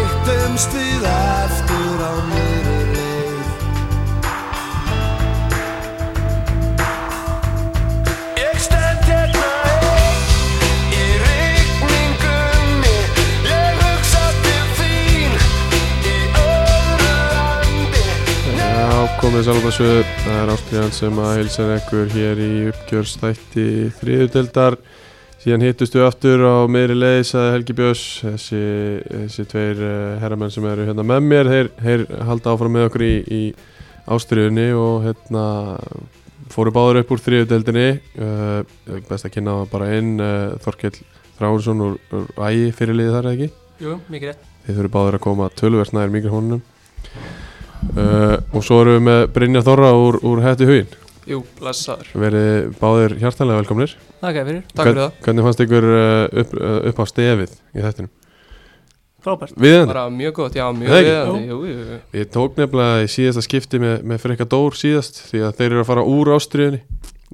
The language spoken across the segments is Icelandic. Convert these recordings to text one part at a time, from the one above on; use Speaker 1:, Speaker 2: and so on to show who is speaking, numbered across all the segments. Speaker 1: snúumst við aftur á nýri leið Ég stend hérna ein í rigningunni Ég hugsa til þín í öðru landi
Speaker 2: Já, komið sálum að sögur. Það er Ástriðan sem að heilsa ykkur hér í uppgjörstætti þriðutöldar. Síðan hittust við aftur á meiri leið, sagði Helgi Björns. Þessi, þessi tveir eh, herramenn sem eru hérna með mér, þeir, þeir halda áfram með okkur í, í Ástriðunni og hérna fóru báður upp úr þriðutöldinni. Uh, best að kynna það bara inn, uh, Þorkell Þráinsson úr, úr Ægi fyrirliði þar eða ekki?
Speaker 3: Jú, mikið rétt.
Speaker 2: Þið þurfum báðir að koma tölvert nær mikrofónunum uh, Og svo erum við með Brynja Þorra úr, úr hætti hugin
Speaker 3: Jú, blessaður.
Speaker 2: Verið báðir hjartanlega velkomnir
Speaker 3: Takk fyrir. Takk fyrir það.
Speaker 2: Hvernig fannst ykkur uh, upp, uh, upp á stefið í þettinum?
Speaker 4: Frábært
Speaker 2: Viðandi,
Speaker 3: Bara mjög gott, já, mjög
Speaker 2: Nei.
Speaker 3: viðandi. Jú, jú, jú.
Speaker 2: ég tók nefnilega í síðasta skipti með, með Freyka Dór síðast Því að þeir eru að fara úr ástriðinni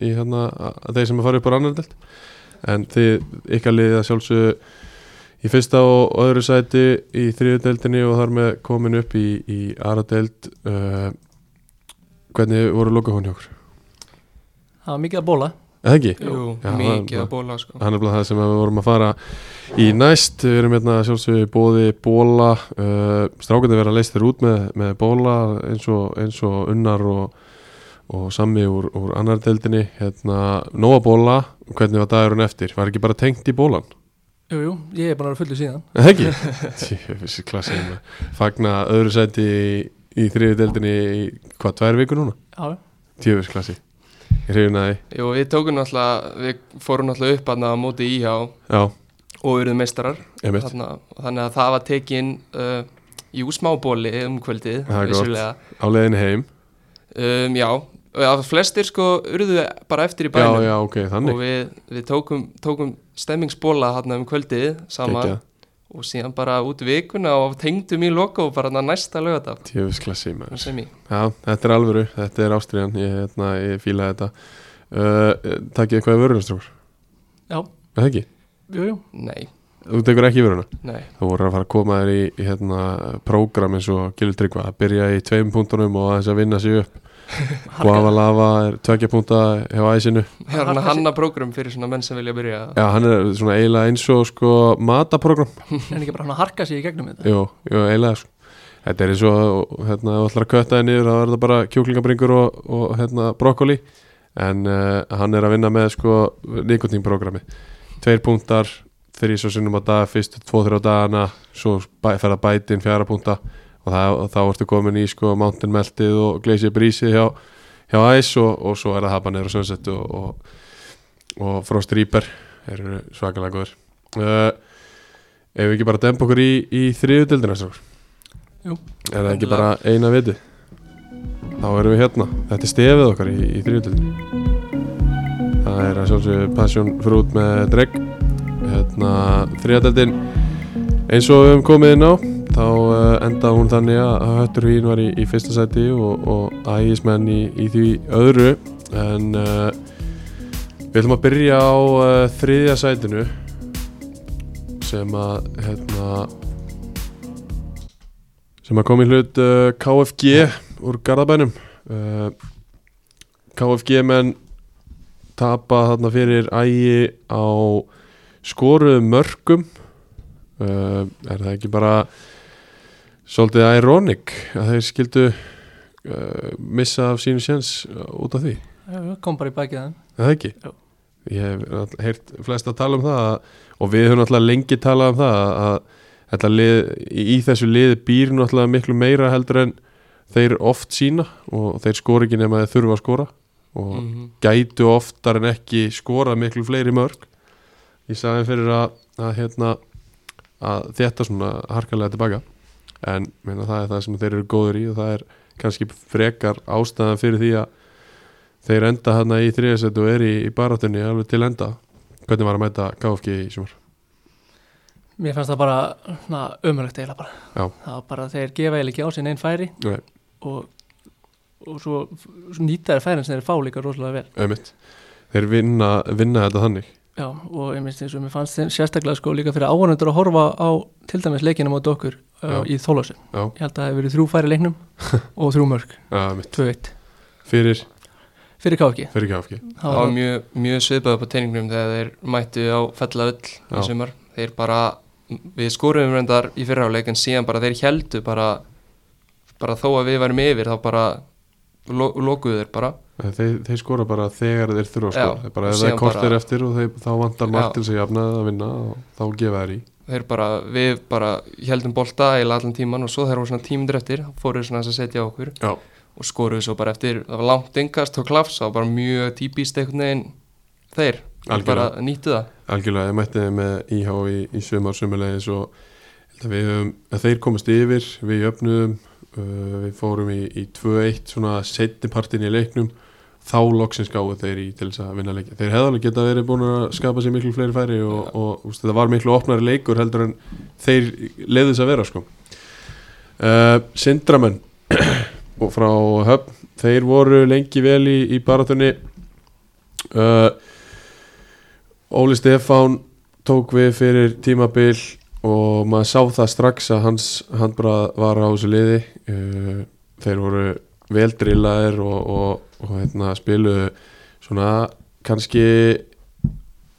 Speaker 2: Í hérna, að, að þeir sem að fara upp á rannardelt En þið ykkar liðið að sjálfsögðu í fyrsta og og öðru sæti í þriðudeldinni og þar með komin upp í, í aðradeld uh, hvernig voru loka hjá okkur?
Speaker 4: Það var mikið að bóla
Speaker 2: Eða ekki?
Speaker 3: jú
Speaker 2: Já,
Speaker 3: mikið
Speaker 2: það-
Speaker 3: að bóla, sko.
Speaker 2: Það er bara það sem við vorum að fara í næst við erum hérna sjálfsögðu bóði bóla uh, strákandi vera leist þér út með, með bóla eins og, eins og unnar og, og sammi úr, úr annar deldinni hérna, nóa bóla, hvernig var dagurinn eftir? Var ekki bara tengt í bólan?
Speaker 4: Jú, jú, ég er bara að vera fullu síðan
Speaker 2: Það ekki? Þessi klassið með fagna öðru sæti í, í þriðu deildinni í hvað, tvær vikur núna?
Speaker 4: Já, já.
Speaker 2: Tjöfus klassi Ég hrifin að því
Speaker 3: Jú, við tókum náttúrulega, við fórum náttúrulega upp aðna á móti íhjá
Speaker 2: Já,
Speaker 3: og eruðum meistarar.
Speaker 2: einmitt
Speaker 3: Þarna, þannig að það var tekin uh, í úsmábóli um kvöldið.
Speaker 2: Það er gott.
Speaker 3: vissulega.
Speaker 2: Á leiðinni heim
Speaker 3: Um, já, og að flestir sko urðu bara eftir í
Speaker 2: Já,
Speaker 3: bænum.
Speaker 2: já, ok,
Speaker 3: Og
Speaker 2: þannig
Speaker 3: við, við tókum, tókum stemmingsbóla hérna um kvöldið saman
Speaker 2: Gekja,
Speaker 3: og síðan bara út vikuna og tengdum í loka og bara þarna næsta lögataf.
Speaker 2: tjöfus klassi maður
Speaker 3: sem í.
Speaker 2: Já, þetta er alvöru, þetta er ástriðan Ég, hérna, ég fíla þetta uh, Takk ég eitthvað í vörunastrókur
Speaker 4: Já.
Speaker 2: Það ekki?
Speaker 4: jú, jú
Speaker 3: Nei,
Speaker 2: Þú tekur ekki í vöruna?
Speaker 3: nei,
Speaker 2: Þú voru að fara að koma þér í, í hérna, prógram eins og Gilur Tryggva að byrja í tveim punktunum og aðeins að vinna sig upp Guava Lava er tvekja punta hjá æsinu
Speaker 3: það er hann að
Speaker 4: Harpa sé-
Speaker 3: hanna prógram fyrir svona menn sem vilja byrja
Speaker 2: Já, hann er svona eiginlega eins og sko mataprógram
Speaker 4: En ekki bara hann að harka sig í gegnum þetta
Speaker 2: Jú, jú, eiginlega sko Þetta er eins og, hérna, ef þú ætlar að kötta þér niður þá er það bara kjúklingabringur og, og hérna, brokkoli en uh, hann er að vinna með sko nikotínprogrammi Tveir punktar, þrís og sinnum á dag fyrstu tvo-þrjá dagana svo bæ, fer að bæti inn fjara punta og, það, og þá ertu komin í sko mountain meltið og gleisið brísið hjá, hjá æs og, og svo er það hapa niður á sunset og, og, og frost rýper eru svakalega góður uh, Ef við ekki bara dempa okkur í, í þriðudeldina strókur
Speaker 4: Jú.
Speaker 2: Er það ekki bara eina viti? Þá erum við hérna Þetta er stefið okkar í, í þriðudeldina Það er að sjálfsögðu Passion Fruit með Dreg Hérna þriðudeldin Eins og við höfum komið inn á Þá uh, endaði hún þannig að að Höttur hýn var í, í fyrsta sæti og, og ægismenn í, í því öðru En uh, Við ætlum að byrja á uh, þriðja sætinu sem að hérna, sem að kom í hlut uh, KFG úr Garðabænum uh, KFG menn tapa þarna fyrir ægi á skoruðum mörgum uh, er það ekki bara svolítið ironic að þeir skildu uh, missa af sínu sjens út af því
Speaker 4: Jú, jú, kom bara í bakið hann
Speaker 2: Er Það ekki?
Speaker 4: Jú.
Speaker 2: Ég hef náttúrulega heyrt flest að tala um það að, og við höfum náttúrulega lengi talað um það að, að þetta lið, í í þessu liði býr náttúrulega miklu meira heldur en þeir oft sína og þeir skora ekki nema þeir þurfa að skora og
Speaker 3: mm
Speaker 2: gætu oftar en ekki skora miklu fleiri mörg í staðin fyrir að, að, hérna, að þetta svona harkalega tilbaka en minna, það er það sem þeir eru góður í og það er kannski frekar ástæðan fyrir því að þeir enda hérna í þriðasættu og eru í, í baráttunni alveg til enda hvernig var að mæta KFG í sumar
Speaker 4: Mér fannst það bara na, ömurlegt eiginlega bara
Speaker 2: Já.
Speaker 4: Það var bara þeir gefa eiginlega ekki á sinni einn færi
Speaker 2: Nei.
Speaker 4: og, og svo, svo nýta þeir færin sem þeir fá líka rosalega vel
Speaker 2: auðvitað þeir vinna, vinna þetta þannig
Speaker 4: Já, og ég minnst eins og mér fannst þeim sérstaklega sko líka fyrir áhvernendur að horfa á til dæmis leikina móti okkur á uh, í Þólasum
Speaker 2: Já.
Speaker 4: ég held að það hefur verið þrjú færi í leiknum og þrjú mörg,
Speaker 2: Já, mitt.
Speaker 4: 2-1
Speaker 2: Fyrir,
Speaker 4: fyrir KFG
Speaker 2: fyrir KFG
Speaker 4: Það
Speaker 3: það var
Speaker 4: var-
Speaker 3: mjög, mjög svipað upp á teiningnum þegar þeir mættu á fellavöll
Speaker 2: Já.
Speaker 3: í sumar þeir bara, við skorum reyndar í fyrrháleik en síðan bara þeir heldu bara, bara þó að við værum yfir þá bara lo, lokuðu þeir bara
Speaker 2: Eh, Þeir, þeir skora bara þegar þeir þurfa að skora
Speaker 3: Já,
Speaker 2: Þeir bara
Speaker 3: og
Speaker 2: ef það er
Speaker 3: síðan
Speaker 2: kortir
Speaker 3: bara-
Speaker 2: eftir og þeir, þá vantar
Speaker 3: Já.
Speaker 2: margt til sig jafna að vinna og þá gefa þær í
Speaker 3: þeir bara, við bara heldum bolta eða allan tíman og svo þeir voru svona tímundur eftir þá fóruðu svona aðeins að setja á okkur
Speaker 2: Já,
Speaker 3: og skoruðu svo bara eftir, það var langt yngast og klafs, það var bara mjög típist einhvern veginn þeir,
Speaker 2: Algjörlega.
Speaker 3: bara nýttu það
Speaker 2: algjörlega, ég mætti þeim með IH í, í sumar sumulegis og ég held að við, höfum- að þeir komast yfir, við jöfnuðum uh, við fórum í, í 2-1 svona setni partin í leiknum þá loksins gáðu þeir í til þess að vinna leikja þeir hefðalega geta verið búin að skapa sér miklu fleiri færi og, og úst, þetta var miklu opnari leikur heldur en þeir leiðis að vera sko uh, Sindramenn og frá Höfn þeir voru lengi vel í, í baratunni uh, Óli Stefán tók við fyrir tímabil og maður sá það strax að hans handbrað var á þessu liði Eh, þeir voru vel drillaðir og, og, og hérna, spiluðu svona kannski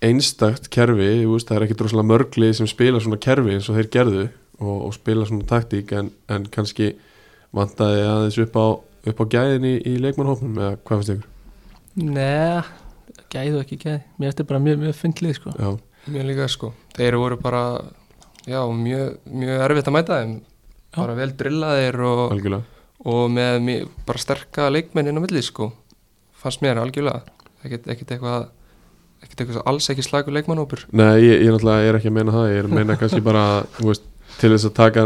Speaker 2: einstakt kerfi þú veist, það er ekki droslega mörgli sem spila svona kerfi eins og þeir gerðu og, og spila svona taktík en, en kannski vantaði aðeins upp á, upp á gæðin í, í leikmannhópnum eða hvað fannst ykkur?
Speaker 4: Nei, gæðu ekki gæði Mér þetta bara mjög, mjög fyndlið sko.
Speaker 2: Já,
Speaker 3: Mjög líka sko, þeir voru bara já, mjög, mjög erfitt að mæta þeim
Speaker 4: Já.
Speaker 3: bara vel drillaðir og,
Speaker 2: algjörlega
Speaker 3: og með mjög, bara sterka leikmenn inn á milli sko, fannst mér algjörlega ekkert, ekkert eitthvað ekkert eitthvað, alls ekki slagur leikmannhópur
Speaker 2: Nei, ég, ég náttúrulega er ekki að meina það, ég er að meina kannski bara þú veist, til þess að taka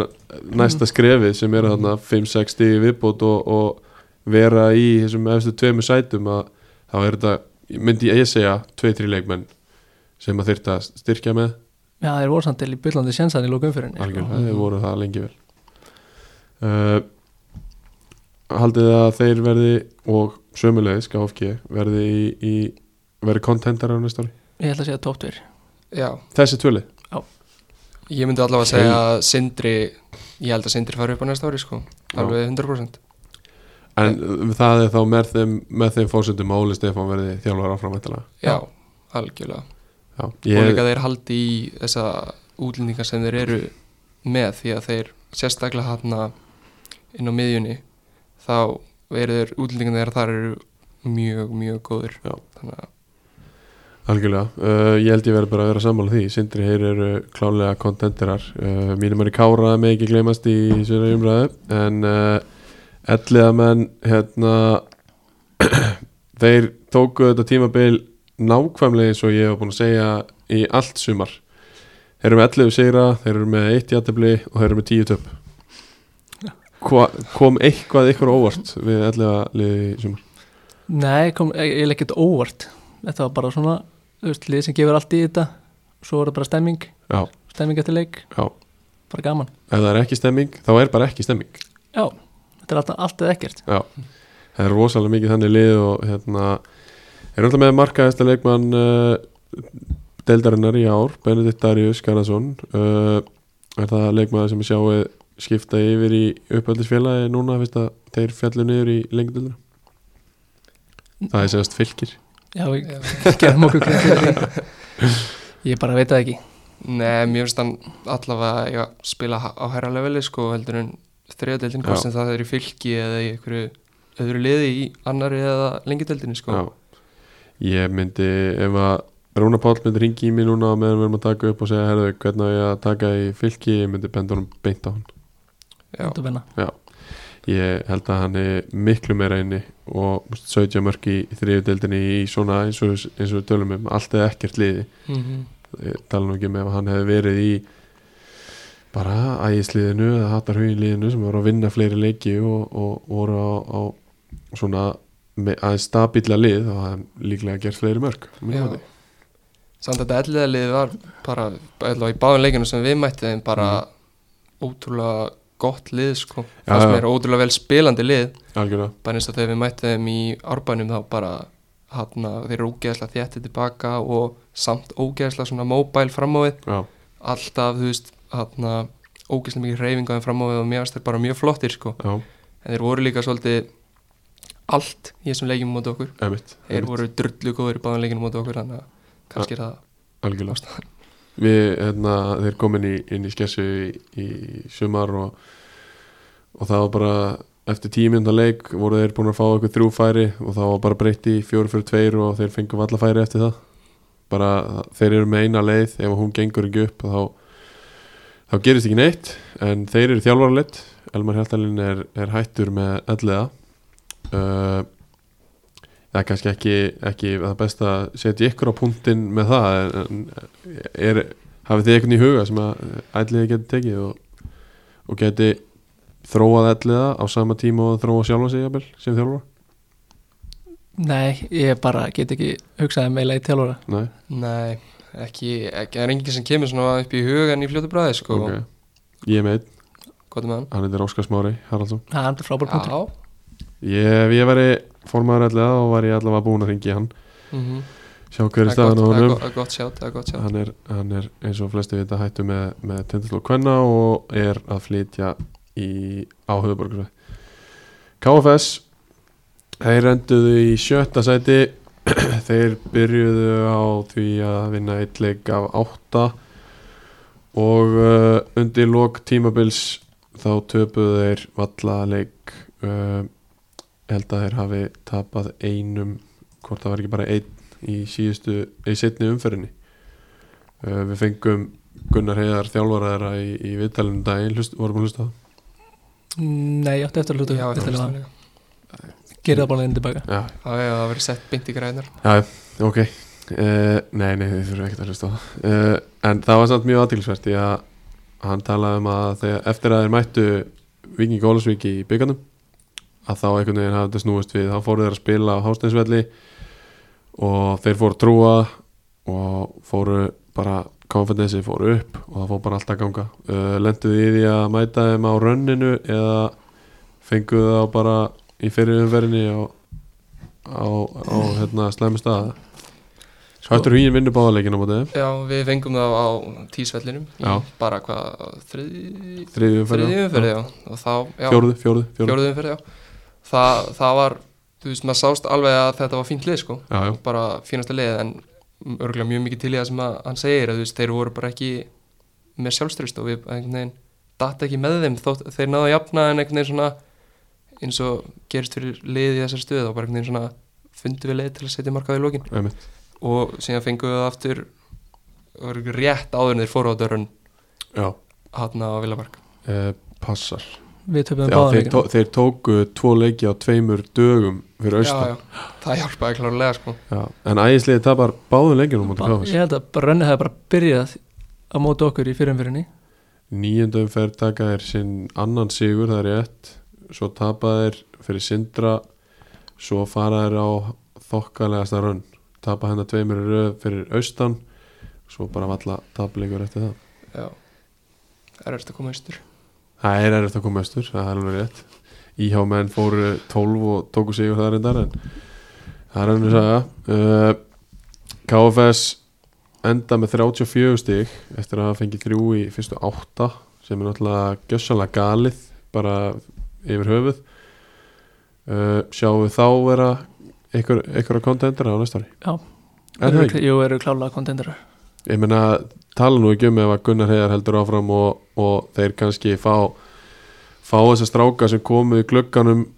Speaker 2: næsta skrefið sem er þarna 5-6 stíði viðbót og, og vera í þessum efstu tveimu sætum að þá er þetta, myndi ég segja 2-3 leikmenn sem að þyrta styrkja með,
Speaker 4: Já, þeir voru samt til í byllandi sjensan í lókumfyrinni
Speaker 2: algjörlega, þeir voru það lengi vel uh, Haldið þið að þeir verði og sömulegis, KFG verði í, í verði kontentar á næsta ári,
Speaker 4: Ég ætla að segja top 2
Speaker 3: Já,
Speaker 2: þessi tvöli
Speaker 3: ég myndi allavega að segja að Sindri ég held að Sindri fari upp á næsta ári sko
Speaker 2: Já.
Speaker 3: alveg 100%
Speaker 2: En uh, það er þá með þeim, með þeim fórsöndum að Óli Stefán verði þjálfur áfram væntanlega.
Speaker 3: Já, algjörlega
Speaker 2: Já,
Speaker 3: og
Speaker 2: ég,
Speaker 3: líka þeir haldi í þessa útlendinga sem þeir eru með því að þeir sérstaklega hana inn á miðjunni þá eru þeir útlendingan þeirra þar eru mjög, mjög góður
Speaker 2: Já.
Speaker 3: þannig að
Speaker 2: algjörlega, uh, ég held ég verði bara að vera sammála því. Sindri heyr eru klálega kontenterar. Uh, mínum er í kára með ekki gleymast í svona umræðu. En uh, elliða menn, hérna, þeir tóku þetta tímabil nákvæmlega eins og ég hef búin að segja í allt sumar. Þeir eru með 11 sigra, þeir eru með 1 jættabli og þeir eru með 10 töp. Hva, kom eitthvað ykkur á óvart við 11 liði í sumar?
Speaker 4: Nei, kom, ég, ég lekkit óvart Þetta var bara svona, þú veist, lið sem gefur allt í þetta Svo var það bara stemming
Speaker 2: Já,
Speaker 4: Stemming eftir leik,
Speaker 2: já.
Speaker 4: bara gaman
Speaker 2: Ef það er ekki stemming, þá er bara ekki stemming.
Speaker 4: Já, þetta er alltaf allt eða ekkert
Speaker 2: Já, það er rosalega mikið þannig lið og hérna er alltaf með markaðasta leikmann uh, deildarinnar í ár Benedikt Darius Garðarsson uh, er það leikmaður sem sjáu skipta yfir í uppöldisfélagi núna fyrst að þeir fjallu niður í lengdöldra það er segast fylgir
Speaker 4: Já, við gerum okkur grein fyrir því Ég bara veit það ekki
Speaker 3: Nei, mér finnst hann allavega já, spila h- á herra leveli sko heldur en þriðadeildin, hvort
Speaker 2: Já.
Speaker 3: sem það er í fylki eða í einhverju öðru liði í annari eða lengideldinni sko
Speaker 2: Já. ég myndi ef að Rúna Páll myndi ringi í mig núna á meðan við erum að taka upp og segja herðu hvernig á ég að taka í fylki ég myndi benda honum beint á hann
Speaker 3: Já.
Speaker 4: Þetta benna
Speaker 2: Ég held að hann er miklu meira inni og þú veist, 17 mörg í þriðudeldinni í svona eins og, eins og við tölum um allt eða ekkert liði
Speaker 3: mm
Speaker 2: Mhm. Ég tala nú ekki um ef hann hefði verið í bara ægisliðinu eða hattarhuginliðinu sem voru að vinna fleiri leiki og, og voru á, á svona me- aðeins stabíla lið og hann líklega gert fleiri mörg
Speaker 3: Já. Samt þetta elliða liði var bara, allavega í báðin leikinu sem við mætti þeim bara ótrúlega gott lið sko
Speaker 2: Mhm. Já,
Speaker 3: fannst
Speaker 2: já.
Speaker 3: mér ótrúlega vel spilandi lið
Speaker 2: algjörlega
Speaker 3: bara eins og þegar við mætti þeim í árbænum þá bara hann þeir eru ógeðslega þjætti tilbaka og samt ógeðslega svona móbæl fram á við
Speaker 2: Já,
Speaker 3: alltaf, þú veist, hann ógeðslega mikið reyfinga þeim fram á við og mér varst þeir bara mjög flottir sko
Speaker 2: já,
Speaker 3: en þeir voru líka svolítið allt í þessum leikjum móti okkur
Speaker 2: emitt
Speaker 3: þeir voru drullu góður í báðan leikjum móti okkur þannig að kannski er það
Speaker 2: algjörlega
Speaker 3: ástæðan
Speaker 2: Við, hérna, þeir komin í, inn í skessu í, í sumar og, og það var bara eftir tíu minna leik voru þeir búin að fá eitthvað þrjú færi og það var bara breytt í fjóru fyrir tveir og þeir fengu alla færi eftir það bara þeir eru með eina leið ef hún gengur ekki upp þá, þá gerist ekki neitt en þeir eru þjálfarleitt Elmar Hjaltalinn er, er hættur með elliða uh, það er kannski ekki, ekki það best að setja ykkur á punktinn með það en, en er, hafið þið einhvern í huga sem að eh, ætliði geti tekið og, og geti þróað ætliða á sama tíma og þróa sjálfa sig jafnvel, sem þjálfara?
Speaker 4: Nei, ég bara get ekki um hugsaði meila í tjálfara
Speaker 2: Nei,
Speaker 3: Nei, ekki, ekki, það er enginn sem kemur svona upp í hugan í fljótu bræði sko
Speaker 2: ok Ég er með einn,
Speaker 3: gott með hann
Speaker 2: hann heitir Óskar Smári Haraldsson
Speaker 4: Það er andur frábær punktur
Speaker 3: Já,
Speaker 2: Ég, ef ég væri formaður ætliða og var ég allavega búin að ringi hann
Speaker 3: mhm
Speaker 2: sjá hver er
Speaker 3: Það er
Speaker 2: staðan á
Speaker 3: gott- það er
Speaker 2: honum
Speaker 3: gott- það er gott sjátt, það er gott sjátt
Speaker 2: hann er, hann er eins og flesti vita hættu með, með tindastók kvenna og er að flytja í, á höfuborgarsvæð KFS þeir enduðu í sjötta sæti þeir byrjuðu á því að vinna eitt leik af átta og uh, undir lok tímabils þá töpuðu þeir valla leik uh, held að þeir hafi tapað einum hvort það var ekki bara einn í síðustu, í setni umferðinni Uh, við fengum Gunnar Heiðar þjálfara þeirra í, í viðtælinu daginn, hlust, vorum að hlusta á það
Speaker 4: Nei, ég átti eftir að hluta
Speaker 3: Já,
Speaker 4: eftir að
Speaker 3: það
Speaker 4: gera það bara leiðin tilbaka
Speaker 2: Já,
Speaker 3: það verið sett beint í grænar
Speaker 2: ok uh, Nei, nei, þið þurfum ekkert að hlusta á það uh, En það var samt mjög aðtilsvert því að hann talaði um að þegar, eftir að þeir mættu Viking Ólasvík í byggarnum að þá einhvern veginn hafði þetta snúist við þá fóru þeir að spila á hásteinsvelli og þeir fóru að trúa og fóru bara konfidensi fóru upp og það fór bara allt að ganga uh, lenduðu í því að mæta þeim á rönninu eða fenguðu þá bara í fyrirumverðinni á, á, á hérna slæmi staða
Speaker 3: Sko-
Speaker 2: Höttur hýin vinnur báðarleikin á móti eh? þeim
Speaker 3: Já, við fengum það á tísvellinum í
Speaker 2: Já.
Speaker 3: bara hvað, þriði
Speaker 2: þriðju umferð
Speaker 3: þriði
Speaker 2: já.
Speaker 3: umferð, já og þá, já,
Speaker 2: Fjórðu, fjórðu, fjórðu
Speaker 3: fjórðu umferð, já það, það var, þú veist, maður sást alveg að þetta var fínt lið, sko
Speaker 2: Já, já,
Speaker 3: bara fínasta lið, en örgulega mjög mikið til í það sem að hann segir, að þú veist, þeir voru bara ekki með sjálfströst og við einhvern veginn datt ekki með þeim, þótt þeir náðu að jafna en einhvern veginn svona eins og gerist fyrir lið í þessari stöðu og bara einhvern veginn svona fundu við leið til að setja markað í lokin
Speaker 2: einmitt
Speaker 3: og síðan fengum við það aftur örugglega rétt áður en þeir fóru á dörrun
Speaker 2: Já,
Speaker 3: hann á Villamark
Speaker 2: eh, passar
Speaker 4: Við töfum
Speaker 2: Já,
Speaker 4: báðan
Speaker 2: þeir,
Speaker 4: leikin
Speaker 2: tó, þeir tóku tvo leiki á tveimur dögum fyrir austan
Speaker 3: já, það hjálpaði klárlega sko
Speaker 2: Já, En ægisliði tapar báðum leikinu mútið
Speaker 4: Ba-
Speaker 2: KFS
Speaker 4: Ég held að rönni hefði bara byrjað á móti okkur í fyrirumfyrinni
Speaker 2: Níundum fer taka þeir sinn annan sigur, það er rétt Svo tapa þeir fyrir Sindra Svo fara þeir á þokkalegasta rönn Tapa hennar tveimur í röð fyrir austan Svo bara valla tapleikur eftir það
Speaker 3: já. það er eftir að koma austur
Speaker 2: Það er erfitt að koma östur, það er alveg rétt Íhá menn fóru 12 og tóku sigur það reyndar en það er ennur saga uh, KFS enda með 34 stig eftir að hafa fengið þrjú í fyrstu átta sem er náttúrulega gjössalega galið bara yfir höfuð uh, sjáum við þá vera ykkur, ykkur að kontendera á næsta ári
Speaker 4: Já.
Speaker 2: er það ekki?
Speaker 4: Jú, eru klálega kontenderar
Speaker 2: Ég meina, tala nú ekki um ef að Gunnar Heiðar heldur áfram og, og þeir kannski fá fá þess að stráka sem komu í glugganum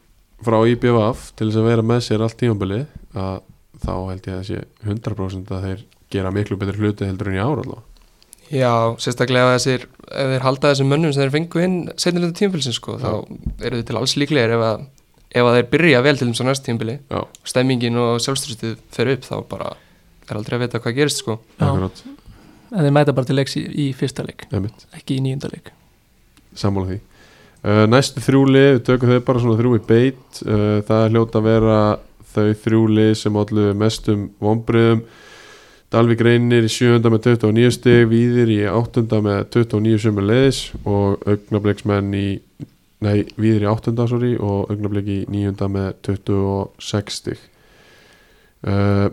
Speaker 2: frá IBVF til þess að vera með sér allt tímabili að þá held ég að þessi 100% að þeir gera miklu betur hluti heldur en í ára allavega.
Speaker 3: já, sérstaklega ef þessir ef þeir halda þessum mönnum sem þeir fengu inn setnilega tímfélsins sko,
Speaker 2: Já.
Speaker 3: þá eru þau til alls líklegir ef að ef að þeir byrja vel til þess að næst tímféli
Speaker 2: Já,
Speaker 3: stemmingin og sjálfströstið fer upp þá bara er aldrei að vita hvað gerist sko
Speaker 4: Já.
Speaker 2: akkurat,
Speaker 4: En þeir mæta bara til leiks í, í fyrsta leik
Speaker 2: nefnitt,
Speaker 4: Ekki í nýjunda leik
Speaker 2: sammála því uh, Næstu þrjúli, við tökum þau bara svona þrjú í beitt, uh, það er hljóta að vera þau þrjúli sem allu mestum vonbriðum Dalvik reynir í 7. með 29 stig, Víðir í 8. með 29 sömur leiðis og augnabliksmenn í, nei, Víðir í 8. sorry og augnablik í 9. með 26 stig. Uh,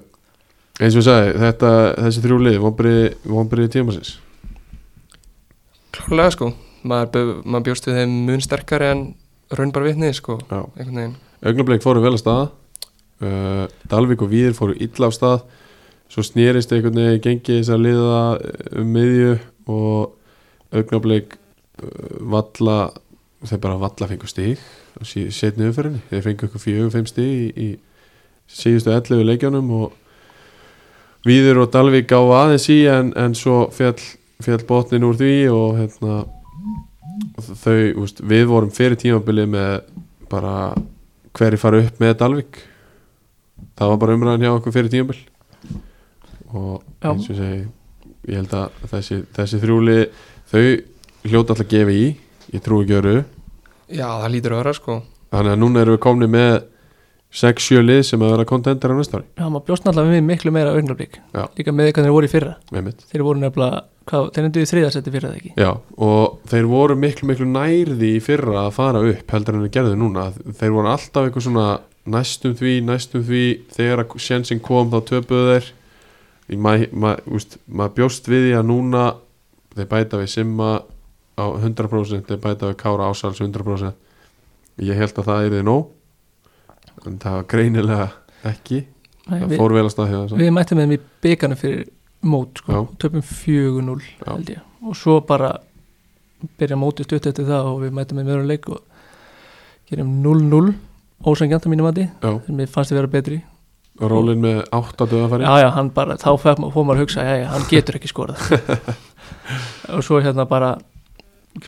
Speaker 2: eins og ég sagði, þetta, þessi þrjú lið, vonbriði tímasins.
Speaker 3: klárlega sko, maður, bau- maður bjóst við þeim mun sterkari en raun bara vitni sko,
Speaker 2: Já.
Speaker 3: einhvern veginn
Speaker 2: Augnablik fóru vel að staða uh, Dalvik og Víðir fóru illa af stað Svo snýrist einhvern veginn gengi þess að liða um miðju og augnablik uh, valla þeir bara valla fengu stig og setni umferðinni, þeir fengu eitthvað fjögur, fimm stig í, í síðustu 11 leikjánum og Víður og Dalvik á aðeins í en, en svo fjall, fjall botnin úr því og hérna þau, úst, við vorum fyrir tímabilið með bara hverju fara upp með Dalvik það var bara umræðan hjá okkur fyrir tímabil og
Speaker 4: Já.
Speaker 2: eins og ég segi ég held að þessi, þessi þrjúli þau hljóta alltaf að gefa í ég trúi ekki öru
Speaker 3: já, það lítur að vera sko
Speaker 2: þannig að núna erum við komni með 6-7 lið sem að vera kontender á næsta ári
Speaker 4: Já, maður bjóst náttúrulega við miklu meira augnablik
Speaker 2: Já.
Speaker 4: Líka með því hvernig þeir voru í fyrra
Speaker 2: einmitt.
Speaker 4: Þeir voru nefnilega, hvað, þeir endur í þriðasetti fyrra eða ekki
Speaker 2: Já, og þeir voru miklu miklu nærði í fyrra að fara upp heldur en þeir gerðu núna þeir voru alltaf eitthvað svona næstum því, næstum því þegar að sjensin kom þá töpuðu þeir Ég- ma- ma- úst, maður bjóst við því að núna þeir bæta við Simma á 100% þeir bæta við Kára Ásals 100% ég held að það er þið nóg en það var greinilega ekki
Speaker 4: Nei,
Speaker 2: það
Speaker 4: við,
Speaker 2: fór vel að staða hjá þess
Speaker 4: við mættum með þeim í byggarnu fyrir mót sko,
Speaker 2: Já.
Speaker 4: töpum 4-0
Speaker 2: Já.
Speaker 4: held ég og svo bara byrja mótið stutt eftir það og við mættum með meira leik og gerum 0-0 ósengjant að mínu mati
Speaker 2: Já,
Speaker 4: sem mér fannst þið vera betri
Speaker 2: rólinn með 8 döðafæri
Speaker 4: já, já, hann bara, þá fær ma- fór maður að hugsa já, já, hann getur ekki skorað og svo hérna bara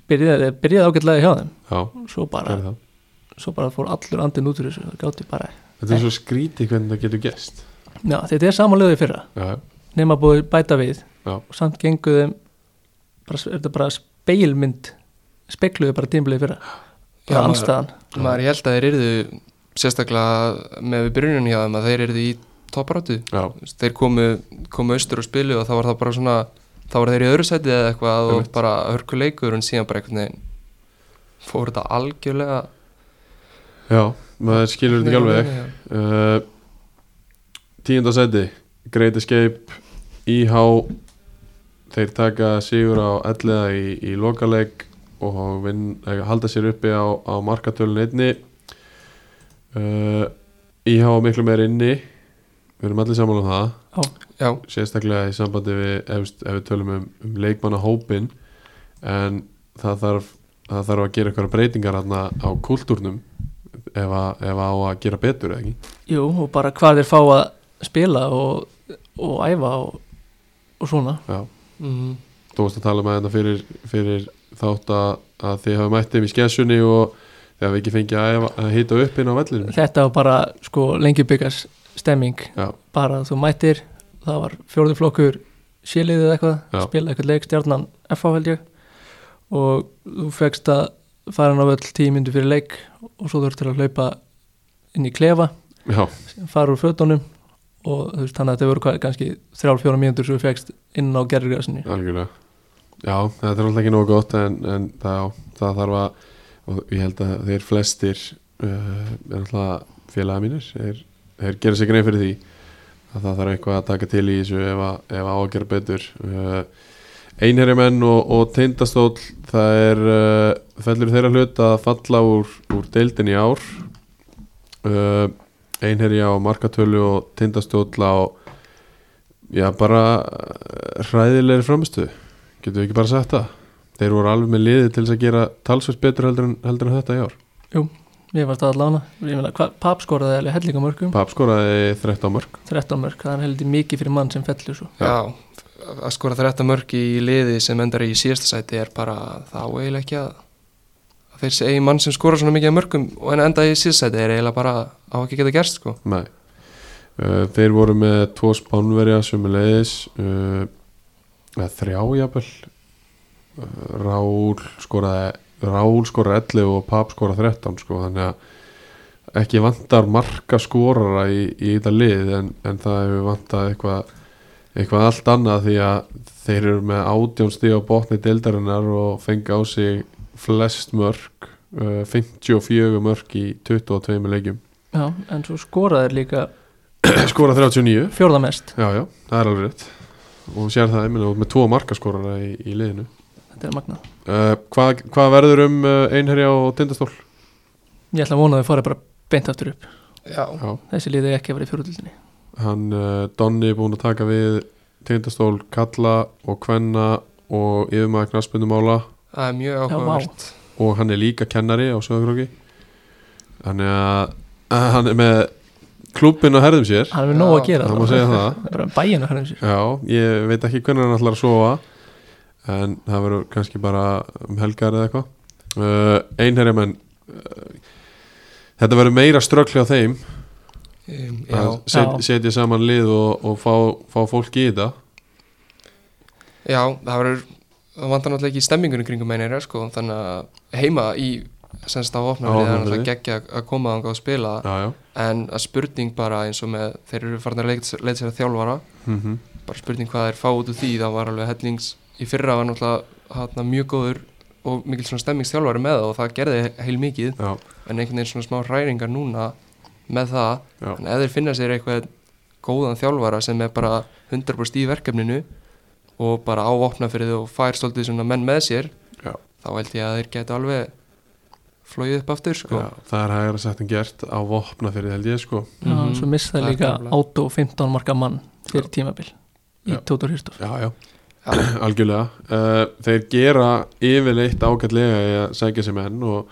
Speaker 4: byrjaði, byrjaði ágætlega hjá þeim
Speaker 2: Já,
Speaker 4: svo bara,
Speaker 2: gerði það
Speaker 4: svo bara fór allur andin út úr þessu það gátti bara,
Speaker 2: Þetta er svo skrítið hvernig það getur gest
Speaker 4: já, þetta er samanlega í fyrra
Speaker 2: Já,
Speaker 4: nema búið bæta við
Speaker 2: Já.
Speaker 4: og samt gengu þeim bara, er þetta bara speilmynd speikluðu bara tímblið fyrra
Speaker 3: Já,
Speaker 4: bara
Speaker 3: maður-
Speaker 4: anstæðan
Speaker 3: maður ég held að þeir yrðu sérstaklega með við byrjunum hjá þeim að þeir yrðu í topparáttu
Speaker 2: já,
Speaker 3: þeir komu, komu austur og spilu og þá var það bara svona þá var þeir í öðru sæti eða eitthvað og
Speaker 2: Einmitt.
Speaker 3: bara hörkuleikur en síðan bara einhvern veginn fór þetta algjörlega
Speaker 2: já maður skilur þetta ekki alveg uh, Tíunda seti Great Escape IH Þeir taka sigur á elliða í, í lokaleik og vinn, eh, halda sér uppi á, á markatölun einni uh, IH á miklu meir inni Við erum allir saman um það
Speaker 3: já,
Speaker 2: sérstaklega í sambandi við ef, ef við tölum um, um leikmannahópin en það þarf, það þarf að gera eitthvað breytingar hana, á kultúrnum ef, að, ef á að gera betur eða ekki
Speaker 4: Jú, og bara hvað þeir fá að spila og, og æfa og, og svona
Speaker 2: Já.
Speaker 3: mhm,
Speaker 2: þú varst að tala með þetta fyrir, fyrir þátt að, að þið hafa mætt þeim í skessunni og þið hafa ekki fengið að, æfa- að hita upp inn á vellinum
Speaker 4: þetta var bara sko lengi byggas stemming
Speaker 2: Já.
Speaker 4: bara að þú mætir það var fjórðu flokkur síliðið eitthvað,
Speaker 2: Já.
Speaker 4: spila eitthvað leik stjarnan FH held ég og þú fegst að fara hann á öll tíu myndu fyrir leik og svo þurftir að hlaupa inn í klefa
Speaker 2: Já,
Speaker 4: fara úr fötunum og þú veist þannig að þetta voru hvað, kannski þrjálf fjóra mínútur sem þú fegst inn á gerðurgræsinu
Speaker 2: algjörlega Já, þetta er alltaf ekki nógu gott en, en það, það þarf að og ég held að þeir flestir uh, er alltaf félaga mínir þeir, þeir gera sér grein fyrir því að það þarf eitthvað að taka til í þessu ef að, ef að á að gera betur uh, Einherjamenn og, og tindastóll það er uh, fellur þeirra hlut að falla úr, úr deildin í ár uh, Einherja á markatölu og tindastóll á Já, bara eh, hræðilegri framistu Getum við ekki bara sagt það Þeir voru alveg með liði til þess að gera talsvert betur heldur en, heldur en þetta í ár
Speaker 4: mér varst það að lána, ég meina hvað pap skoraði alveg hellinga mörgum,
Speaker 2: Pap skoraði 13 mörg
Speaker 4: 13 mörg, það er heldur mikið fyrir mann sem fellur svo
Speaker 2: Já.
Speaker 3: já að skora þetta mörg í liði sem endar í síðasta sæti er bara þá eiginlega ekki að að þeir segi mann sem skora svona mikið af mörgum og en enda í síðasta sæti er eiginlega bara á ekki geta gerst sko
Speaker 2: Nei uh, Þeir voru með tvo spánverja sömulegis uh, eða þrjá jafnvel uh, Rál skoraði Rál skoraði 11 og Pap skoraði 13 sko, þannig að ekki vantar marka skorara í, í þetta lið en, en það hefur vantað eitthvað eitthvað allt annað því að þeir eru með átjónstíð á botni deildarinnar og fengi á sig flest mörg uh, 54 mörg í 22 leikjum
Speaker 4: Já, en svo skoraði þeir líka
Speaker 2: skora 39
Speaker 4: fjórða mest
Speaker 2: Já, já, það er alveg rétt og sér það, ég meina, þú ert með tvo markaskorara í, í liðinu
Speaker 4: Þetta þetta er magnað
Speaker 2: uh, hvað, hvað verður um uh, einherja og tindastól?
Speaker 4: ég ætla að vona að þau fara bara beint aftur upp
Speaker 3: Já,
Speaker 2: Já.
Speaker 4: þessi liði ekki að vera í fjórhundildinni
Speaker 2: Hann uh, Donni er búin að taka við tindastól Kalla og Kvenna og yfirmaður knarsbyndumála
Speaker 3: það er mjög
Speaker 4: Já, vá.
Speaker 3: áhugavert
Speaker 2: og hann er líka kennari á Söðagróki Þannig að að hann er með klubbin á herðum sér
Speaker 4: hann er með nóg að
Speaker 3: Já,
Speaker 4: gera
Speaker 2: það má
Speaker 4: allavega.
Speaker 2: segja það.
Speaker 4: bara bæinn að hann um sér
Speaker 2: Já, ég veit ekki hvernig hann ætlar að sofa en það verður kannski bara um helgar eða eitthvað uh, Einherjamenn uh, Þetta verður meira ströggli á þeim
Speaker 3: um, Já,
Speaker 2: að set,
Speaker 4: Já.
Speaker 2: setja saman lið og, og fá, fá fólk í þetta
Speaker 3: já, það verður það vantar náttúrulega ekki stemmingunum kringum einherja sko, þannig að heima í semst á opnafrið, það er
Speaker 2: Vopnafirði.
Speaker 3: náttúrulega geggja að koma þangað og spila
Speaker 2: Já, já
Speaker 3: en að spurning bara eins og með þeir eru farin að leita sér- leita sér að þjálfara
Speaker 2: mm
Speaker 3: bara spurning hvað þeir fá út úr því það var alveg hellings í fyrra var náttúrulega hana, mjög góður og mikil svona stemmingstjálfari með það og það gerði heil mikið
Speaker 2: Já,
Speaker 3: en einhvern veginn svona smá hræringar núna með það
Speaker 2: já,
Speaker 3: en ef þeir finna sér eitthvað góðan þjálfara sem er bara 100% í verkefninu og bara ávopna fyrir þau og fær svolítið svona menn með sér
Speaker 2: Já.
Speaker 3: þá held ég að þeir geta alveg flóið upp aftur sko
Speaker 2: já Það er hægara sagt en gert á vopna fyrir held ég sko
Speaker 3: Mhm.
Speaker 4: svo missa
Speaker 3: Það
Speaker 4: það
Speaker 3: er
Speaker 4: líka
Speaker 3: nefnilega.
Speaker 4: átó 15 marka mann fyrir tímabil í
Speaker 2: Já.
Speaker 4: Tóthor Hýrstof
Speaker 2: Já, já,
Speaker 3: Já.
Speaker 2: algjörlega uh, Þeir gera yfirleitt ágætlega í að sækja sér menn og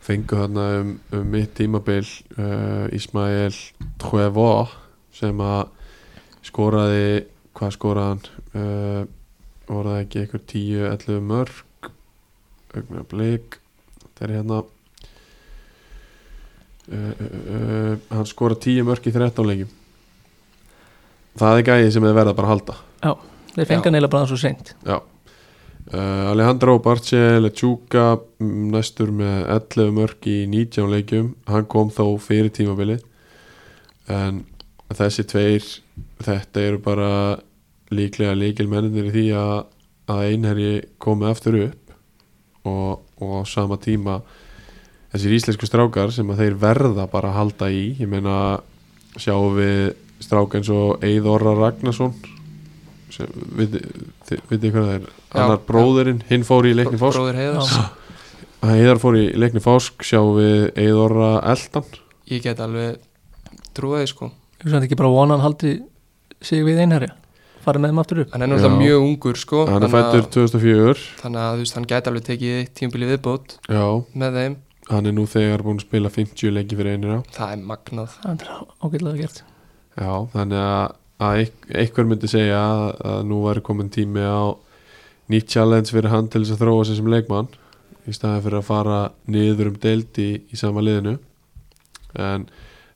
Speaker 2: fengu þarna um, um mitt tímabil uh, Ismael Tjövo sem að skoraði hvað skoraði hann uh, voru það ekki ykkur 10-11 mörg augna blik þetta er hérna uh, uh, uh, hann skoraði 10 mörg í 13 leikjum það er gæði sem þið verða bara að halda
Speaker 4: þeir fengar neila bara svo seint
Speaker 2: Uh, Alejandro Barce Lechuga næstur með 11 mörg í 19 leikjum hann kom þó fyrir tímabilið en þessi tveir þetta eru bara líklega líkil menninir í því að, að einherji komi aftur upp og, og á sama tíma þessir íslensku strákar sem að þeir verða bara að halda í ég meina sjáum við strák eins og Eithorra Ragnarsson sem, viti, viti hvað það er
Speaker 3: Já,
Speaker 2: annar
Speaker 3: já.
Speaker 2: bróðurinn, hinn fór í leikni fásk
Speaker 3: bróður heiðars
Speaker 2: Heiðar fór í leikni fásk sjáum við Eithorra Eldan
Speaker 3: ég get alveg trúið sko
Speaker 4: ég veist ekki bara vona að hann haldi sig við einherja fara með þeim aftur upp
Speaker 3: hann er náttúrulega
Speaker 2: Já.
Speaker 3: mjög ungur sko
Speaker 2: hann
Speaker 3: þannig
Speaker 2: er
Speaker 3: að-
Speaker 2: fættur 2004
Speaker 3: þannig að þú veist hann gæti alveg tekið eitt tímabili viðbót
Speaker 2: já,
Speaker 3: með þeim
Speaker 2: hann er nú þegar búin að spila 50 leiki fyrir einir á
Speaker 3: það er magnað
Speaker 4: það er ágætlega gert
Speaker 2: já, þannig að, að eik- einhver myndi segja að, að nú væri komin tími á nýtt challenge fyrir hann til þess að þróa sig sem leikmann í staði fyrir að fara niður um deild í, í sama liðinu en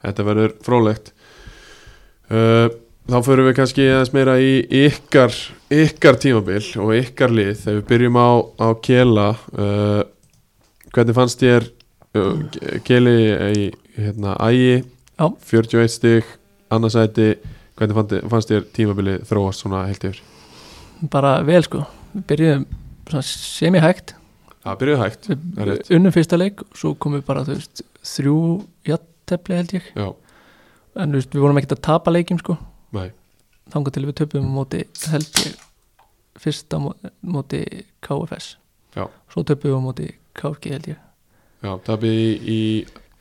Speaker 2: þetta verður frólægt uh, þá förum við kannski aðeins meira í ykkar, ykkar tímabil og ykkar lið þegar við byrjum á, á Kela uh, hvernig fannst þér uh, Ke- Keli í hérna, Ægi
Speaker 4: Já.
Speaker 2: 41 stig, annarsæti hvernig fannst- fannst þér tímabili þróast svona heilt yfir?
Speaker 4: bara vel sko, við byrjuðum svona semi-hægt,
Speaker 2: Það byrjuði hægt Það er
Speaker 4: við
Speaker 2: rétt.
Speaker 4: unnum fyrsta leik og svo komum við bara þú veist, þrjú jattefli held ég,
Speaker 2: Já,
Speaker 4: en þú veist, við vorum ekkert að tapa leikjum sko,
Speaker 2: nei,
Speaker 4: þangað til við töpum á móti held ég fyrsta mó- móti KFS
Speaker 2: Já.
Speaker 4: svo töpum við á móti KFG held ég
Speaker 2: já, tapi í, í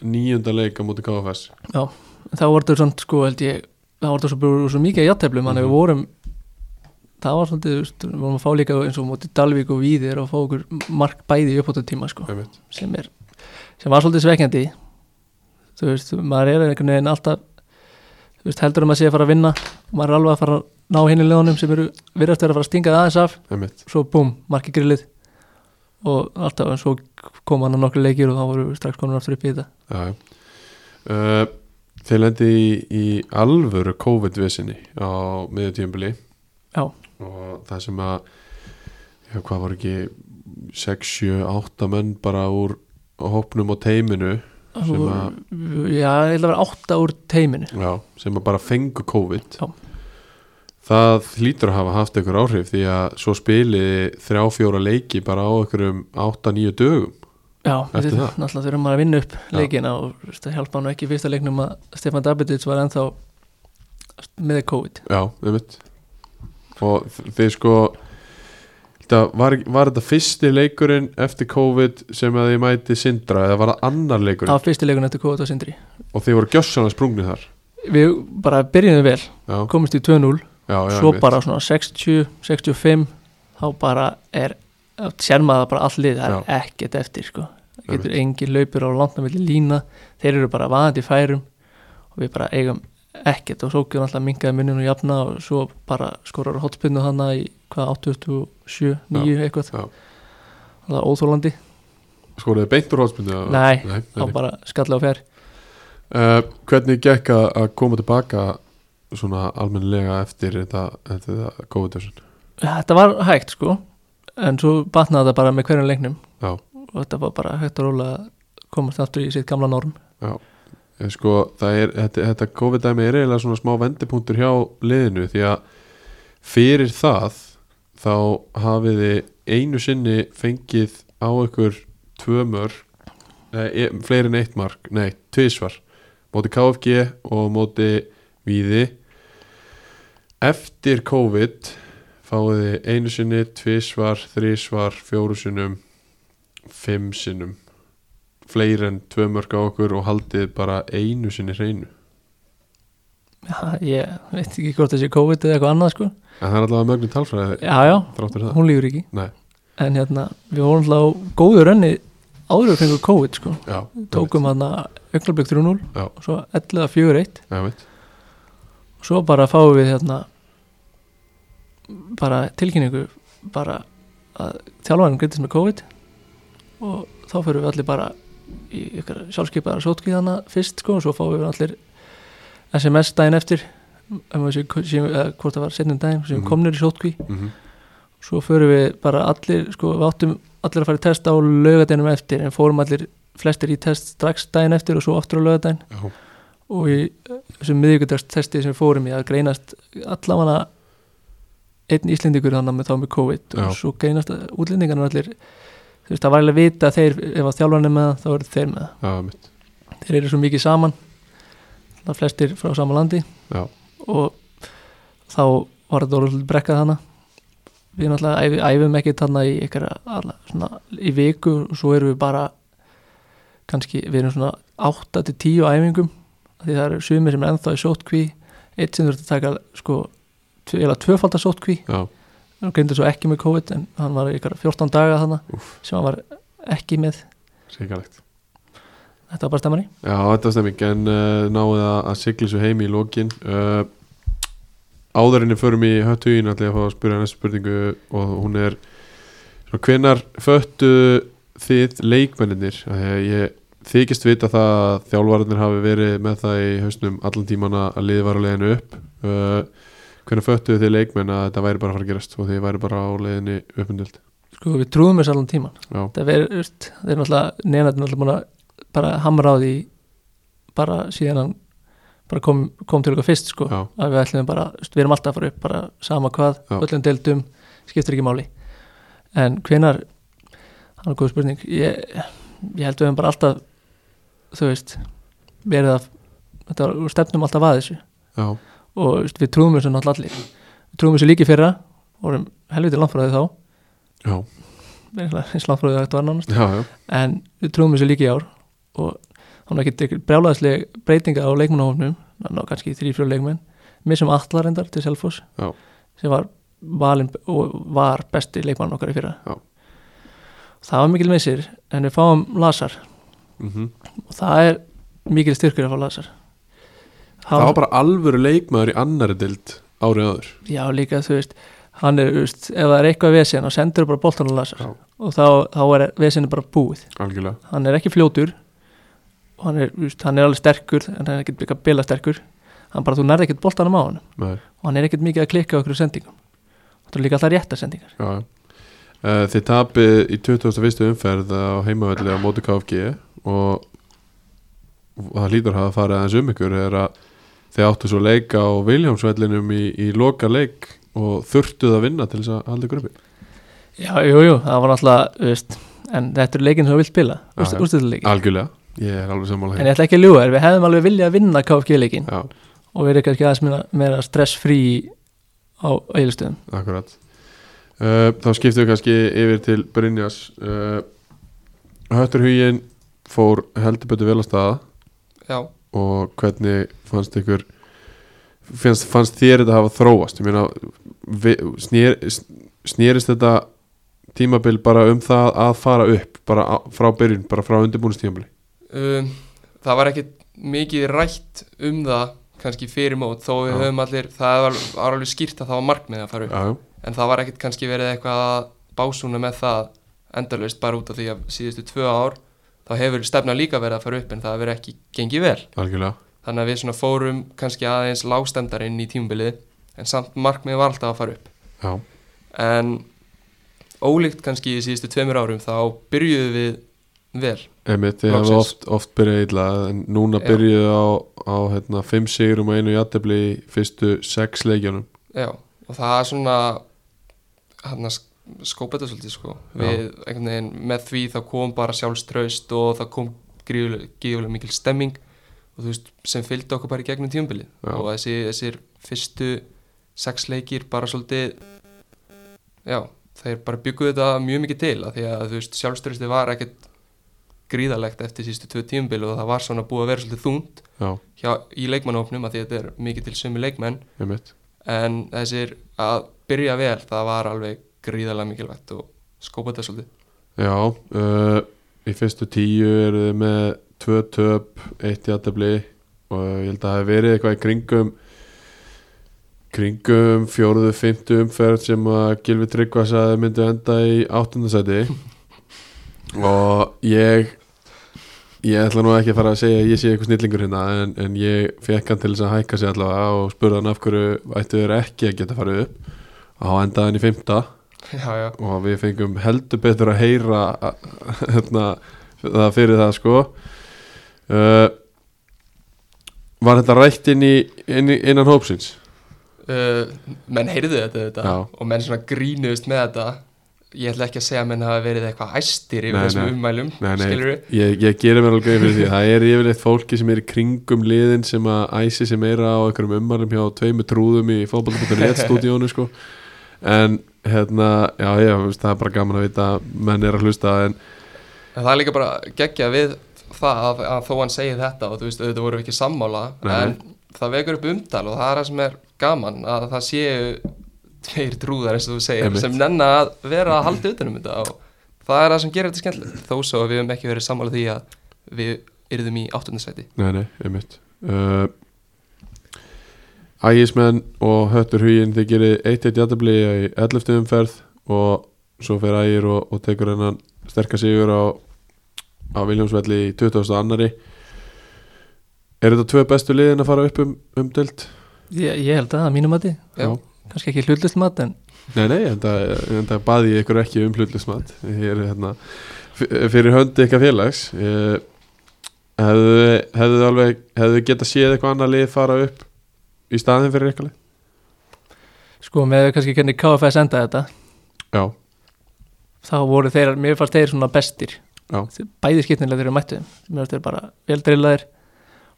Speaker 2: nýjunda leik á móti KFS
Speaker 4: en þá var þetta svona sko held ég þá var þetta svo, bara svo mikið jatteflum, þannig að
Speaker 2: Mhm.
Speaker 4: við vorum það var svolítið, þú veist, við vorum að fá líka eins og á móti Dalvík og Víðir og fá okkur mark bæði í uppbótartíma sko
Speaker 2: einmitt.
Speaker 4: sem, er, sem var svolítið svekkjandi þú veist, maður er einhvern veginn alltaf þú veist, heldur um að sé að fara að vinna og maður er alveg að fara að ná hinni leðunum sem eru virðast vera að fara að stinga það aðeins af
Speaker 2: einmitt
Speaker 4: svo búm, marki grillið og alltaf, en svo kom hann að nokkru leikir og þá voru við strax komin aftur upp í þetta
Speaker 2: já, já. Uh, Þeir lendi í, í alvöru COVID-vissinni á miðjutíumbili
Speaker 4: Já.
Speaker 2: og það sem að já, hvað var ekki 6, 7, 8 menn bara úr hópnum og teiminu Sem
Speaker 4: Þú-
Speaker 2: að-
Speaker 4: já, ég held að vera átta úr teiminu
Speaker 2: já, sem að bara fengu COVID
Speaker 4: Já.
Speaker 2: það hlýtur að hafa haft einhver áhrif því að svo spiliði þrjá, fjóra leiki bara á einhverjum 8-9 dögum
Speaker 4: já,
Speaker 2: Eftir
Speaker 4: við-
Speaker 2: það?
Speaker 4: náttúrulega þurfum maður að vinna upp leikina og þú veist, það hjálpa hann ekki í fyrsta leiknum að Stefan Dabitits var ennþá með COVID
Speaker 2: Já, einmitt Og þ- þið sko það var, var þetta fyrsti leikurinn eftir COVID sem að þið mæti Sindra eða var það annar leikurinn
Speaker 4: Það var fyrsti leikun eftir Kóta og Sindri
Speaker 2: og þið voru gjössan að sprungni þar
Speaker 4: Við bara byrjuðum vel,
Speaker 2: já,
Speaker 4: komumst í 2-0
Speaker 2: já, já,
Speaker 4: Svo
Speaker 2: einmitt.
Speaker 4: bara svona 60, 65 Þá bara er Sér maður það bara all lið, það er ekkert eftir sko. Það getur engin laupur á langt á milli lína, þeir eru bara vaðandi í færum og við bara eigum ekkert og svo getur alltaf mingaði muninu og jafna og svo bara skorar hotspinnu hana í hvað 87, 9 eitthvað
Speaker 2: já.
Speaker 4: það er óþólandi,
Speaker 2: skoruðu beint úr hótspunni
Speaker 4: Nei, þá bara skalla á fjær
Speaker 2: Uh, hvernig gekk að að koma tilbaka svona almennilega eftir þetta, eftir þetta COVID-19
Speaker 4: Þetta var hægt sko en svo batnaði það bara með hverjum leiknum
Speaker 2: Já.
Speaker 4: og þetta var bara hægt að róla að komast aftur í sitt gamla norm
Speaker 2: En sko, það er, þetta, þetta COVID-dæmi er eiginlega svona smá vendipunktur hjá liðinu því að fyrir það þá hafið þið einu sinni fengið á ykkur tvö mörg nei, e- fleiri en eitt mark, nei, tvisvar móti KFG og móti Víði eftir COVID fáið þið einu sinni, tvisvar þrísvar, fjóru sinnum fimm sinnum fleiri en tvö mörg á okkur og haldið bara einu sinni hreinu
Speaker 4: Já, ég veit ekki hvort þessi COVID eða eitthvað annað sko
Speaker 2: en það er allavega mögnu talfræði
Speaker 4: Já, já,
Speaker 2: þráttur það
Speaker 4: hún lífur ekki
Speaker 2: Nei.
Speaker 4: en hérna, við vorum alltaf á góðu rönni áður við fengum COVID sko
Speaker 2: já,
Speaker 4: tókum hann að augnablik 3-0
Speaker 2: Já.
Speaker 4: og svo 11-4-1
Speaker 2: já, veit.
Speaker 4: og svo bara fáum við hérna bara tilkynningu bara að þjálfarinn greitist með COVID og þá fyrir við allir bara í ykkur sjálfskeipaðar sótkvíðana fyrst sko og svo fáum við allir SMS daginn eftir um að séu, séu, eða, hvort það var setnum daginn sem
Speaker 2: Mhm.
Speaker 4: komnir í sótkví
Speaker 2: Mm
Speaker 4: svo fyrir við bara allir sko við áttum allir að fara í test á lögadeinum eftir en fórum allir flestir í test strax daginn eftir og svo aftur á lögadaginn
Speaker 2: já,
Speaker 4: og í eh, þessum miðvíkudagsteksti sem við fórum í að greinast allavega einn íslendingur þannig með þá með COVID
Speaker 2: Já.
Speaker 4: og svo greinast að útlendingarnir allir þú veist það var alveg að vita að þeir ef að þjálfarnir með það þá eru þeir með
Speaker 2: já, mitt
Speaker 4: það þeir eru svo mikið saman það flestir frá sama landi
Speaker 2: já,
Speaker 4: og þá var þetta orðið svolítið brekkað hana við náttúrulega æfi, æfum ekkert hana í einhverja alla, svona, í viku og svo erum við bara kannski, við erum svona 8-10 æfingum af því það eru sumir sem er ennþá í sótkví eitt sem þurfti að taka sko tvö- eiginlega tvöfaldar sótkví
Speaker 2: já,
Speaker 4: hann grindi svo ekki með COVID en hann var í einhverja 14 daga hana sem hann var ekki með
Speaker 2: sikarlegt
Speaker 4: þetta var bara stemmari
Speaker 2: já, þetta er stemming, en uh, náðu að, að sigli svo heim í lokin uh, áðurinni förum í höttugin allir að fá að spyrja næstu spurningu og hún er svona, hvenar föttu þið leikmennir ég þykist vita það að þjálfararnir hafi verið með það í hausnum allan tíman að liði var á leiðinu upp uh, hvernig föttuðu þið leikmenn að þetta væri bara að fara að gerast og þið væri bara á leiðinu uppundöld
Speaker 4: sko við trúðum þess allan tíman
Speaker 2: já,
Speaker 4: það er, veist, það er náttúrulega neðan náttúrulega búin að bara hamra á því bara síðan hann bara kom, kom til okkar fyrst sko
Speaker 2: já,
Speaker 4: að við ætlum bara, veist, við erum alltaf að fara upp bara sama hvað,
Speaker 2: Já.
Speaker 4: öllum deildum skiptir ekki máli en hvenar, það er góð spurning ég, ég held við hefum bara alltaf þú veist verið að, þetta var, við stefnum alltaf að þessu
Speaker 2: já,
Speaker 4: og veist, við trúðum þessu náttúrulega allir við trúðum þessu líki fyrra vorum helviti landfræði þá
Speaker 2: já,
Speaker 4: eins landfræði þetta var nánast
Speaker 2: já, já.
Speaker 4: en við trúum þessu líka í ár og hann er ekki brjálæðislega breytinga á leikmannahofnum ná kannski þrý-fjör leikmenn mér sem allar endar til Selfoss
Speaker 2: Já.
Speaker 4: sem var valin og var besti leikmann okkar í fyrra
Speaker 2: Já.
Speaker 4: það var mikil missir en við fáum Lazar
Speaker 2: Mm
Speaker 4: og það er mikil styrkur að fá Lazar
Speaker 2: það var bara alvöru leikmaður í annari dild árið áður
Speaker 4: já líka þú veist hann er, þú veist, ef það er eitthvað vesinn og sendur bara boltan á Lazar
Speaker 2: Já.
Speaker 4: og þá, þá er vesinn bara búið
Speaker 2: algjörlega,
Speaker 4: hann er ekki fljótur og hann er, just, hann er alveg sterkur en hann er ekkert byggja bila sterkur hann bara, þú nærði ekkert boltanum á hann
Speaker 2: nei
Speaker 4: og hann er ekkert mikið að klikka okkur sendingum og það er líka alltaf rétta sendingar
Speaker 2: Já, já. Eh, Þið tapið í 21. umferð á heimavelli á móti KFG og og það lítur að hafa farið aðeins um ykkur er að þið áttu svo leik á Viljámsvellinum í, í loka leik og þurftuð að vinna til þess að halda ykkur uppi
Speaker 4: já, jú, jú, það var náttúrulega, þú veist en þetta er leikin sem þú vilt spila,
Speaker 2: Já, já.
Speaker 4: úrstuðuleikin
Speaker 2: Algjörlega, ég er alveg sammála
Speaker 4: en ég ætla ekki að ljúga, þér, við hefðum alveg viljað vinna KFG-leikin
Speaker 2: Já,
Speaker 4: og verið kannski aðeins meira, meira stressfrí á auðlustöðum
Speaker 2: akkurat Uh, þá skiptum við kannski yfir til Brynjas uh, Höttur Hugin fór heldur betur vel að staða
Speaker 3: já,
Speaker 2: og hvernig fannst ykkur fannst, fannst þér þetta hafa þróast ég meina vi- snér, snérist þetta tímabil bara um það að fara upp bara á, frá byrjun, bara frá undirbúinstímabili
Speaker 3: um, það var ekkit mikið rætt um það kannski fyrir mót, þó við
Speaker 2: Já.
Speaker 3: höfum allir það var, var alveg skýrt að það var markmið að fara upp
Speaker 2: já,
Speaker 3: en það var ekkit kannski verið eitthvað að básúna með það endalaust bara út af því að síðustu tvö ár þá hefur stefna líka verið að fara upp en það hefur ekki gengið vel
Speaker 2: algjörlega
Speaker 3: þannig að við svona fórum kannski aðeins lágstendar inn í tímabilið en samt markmið var alltaf að fara upp
Speaker 2: já,
Speaker 3: en ólíkt kannski í síðustu tveimur árum þá byrjuðum við vel
Speaker 2: emitt, þið hafa
Speaker 3: Loksins.
Speaker 2: oft, oft byrjað illa en núna
Speaker 3: Já.
Speaker 2: byrjuðu á, á hérna, fimm sigurum og einu játefli í fyrstu sex leikjunum
Speaker 3: Já, og það er svona hann að skópa þetta svolítið sko
Speaker 2: Já.
Speaker 3: við, einhvern veginn, með því þá kom bara sjálfstraust og það kom grífulega mikil stemming og þú veist, sem fylgdi okkur bara í gegnum tímabilið
Speaker 2: Já.
Speaker 3: og þessi, þessir fyrstu sex leikir bara svolítið já, þeir bara bygguðu þetta mjög mikið til að því að þú veist, sjálfstrausti var ekkert gríðalegt eftir sístu tvö tímabil og það var svona búið að vera svolítið þungt
Speaker 2: já,
Speaker 3: hjá, í leikmannófnum að því að þetta er mikið til sömu leikmenn
Speaker 2: emitt
Speaker 3: en þessir að byrja vel það var alveg gríðarlega mikilvægt og skópa þetta svolítið
Speaker 2: Já, uh, í fyrstu tíu eru þið með tvö töp, eitt játtabli og ég held að það hef verið eitthvað í kringum kringum fjóruðu, fymtu umferð sem að Gilvi Tryggva sagði myndi enda í áttundasæti og ég ég ætla nú ekki að fara að segja að ég sé eitthvað snillingur hérna en, en ég fekk hann til þess að hækka sig allavega og spurði hann af hverju ættu þeir ekki að geta farið upp og hann endaði hann í fymta
Speaker 3: já, já,
Speaker 2: og við fengum heldur betur að heyra hérna, það fyrir það sko uh, Var þetta rætt inn í, inn í innan hópsins?
Speaker 3: uh, menn heyrðu þetta, þetta
Speaker 2: Já.
Speaker 3: og menn svona grínuðust með þetta ég ætla ekki að segja að menn hafa verið eitthvað æstir yfir
Speaker 2: Nei,
Speaker 3: þessum
Speaker 2: nei.
Speaker 3: ummælum
Speaker 2: Nei, nei,
Speaker 3: skilur
Speaker 2: ég, ég gerir mér alveg grein fyrir því það er yfirleitt fólki sem er í kringum liðin sem að æsi sig meira á einhverjum ummarum hjá tveimu trúðum í fótballbútur stúdíónu sko en hérna, já, já, veist, það er bara gaman að vita að menn er að hlusta en
Speaker 3: en það er líka bara geggja við það að, að þó hann segi þetta og þú veist auðvitað vorum við ekki sammála
Speaker 2: Nei.
Speaker 3: en það vekur upp umtal og það er það sem er gaman að það séu tveir trúðar eins og þú segir
Speaker 2: Einmitt.
Speaker 3: sem nenn að vera að halda utanum þetta og það er það sem gerir þetta skemmtilegt þó svo að við höfum ekki verið sammála því að við yrðum í áttundasæti
Speaker 2: Nei, nei, einmitt uh, Ægismenn og Höttur Huginn þeir gerir 1-1 jættabli í 11. umferð og svo fer Ægir og, og tekur hennan sterkar sigur á, á Viljámsvelli í 20. annari Er þetta tvö bestu liðin að fara upp um, um deild?
Speaker 4: ég, ég held að að mínu mati,
Speaker 3: Já.
Speaker 4: kannski ekki hlutlust mat en
Speaker 2: Nei, nei, en það baði ég ykkur ekki um hlutlismat Hér, hérna, f- fyrir höndi ykkar félags Eh, hefðu hefðu alveg hefðu getað séð eitthvað annað lið fara upp í staðin fyrir ykkar lið
Speaker 4: sko með kannski hvernig KFS enda þetta
Speaker 2: Já,
Speaker 4: þá voru þeir, mér fannst þeir svona bestir
Speaker 2: Já.
Speaker 4: Þeir- bæði skipnilega þeir eru mættu þeim mér fannst þeir bara veldreilaðir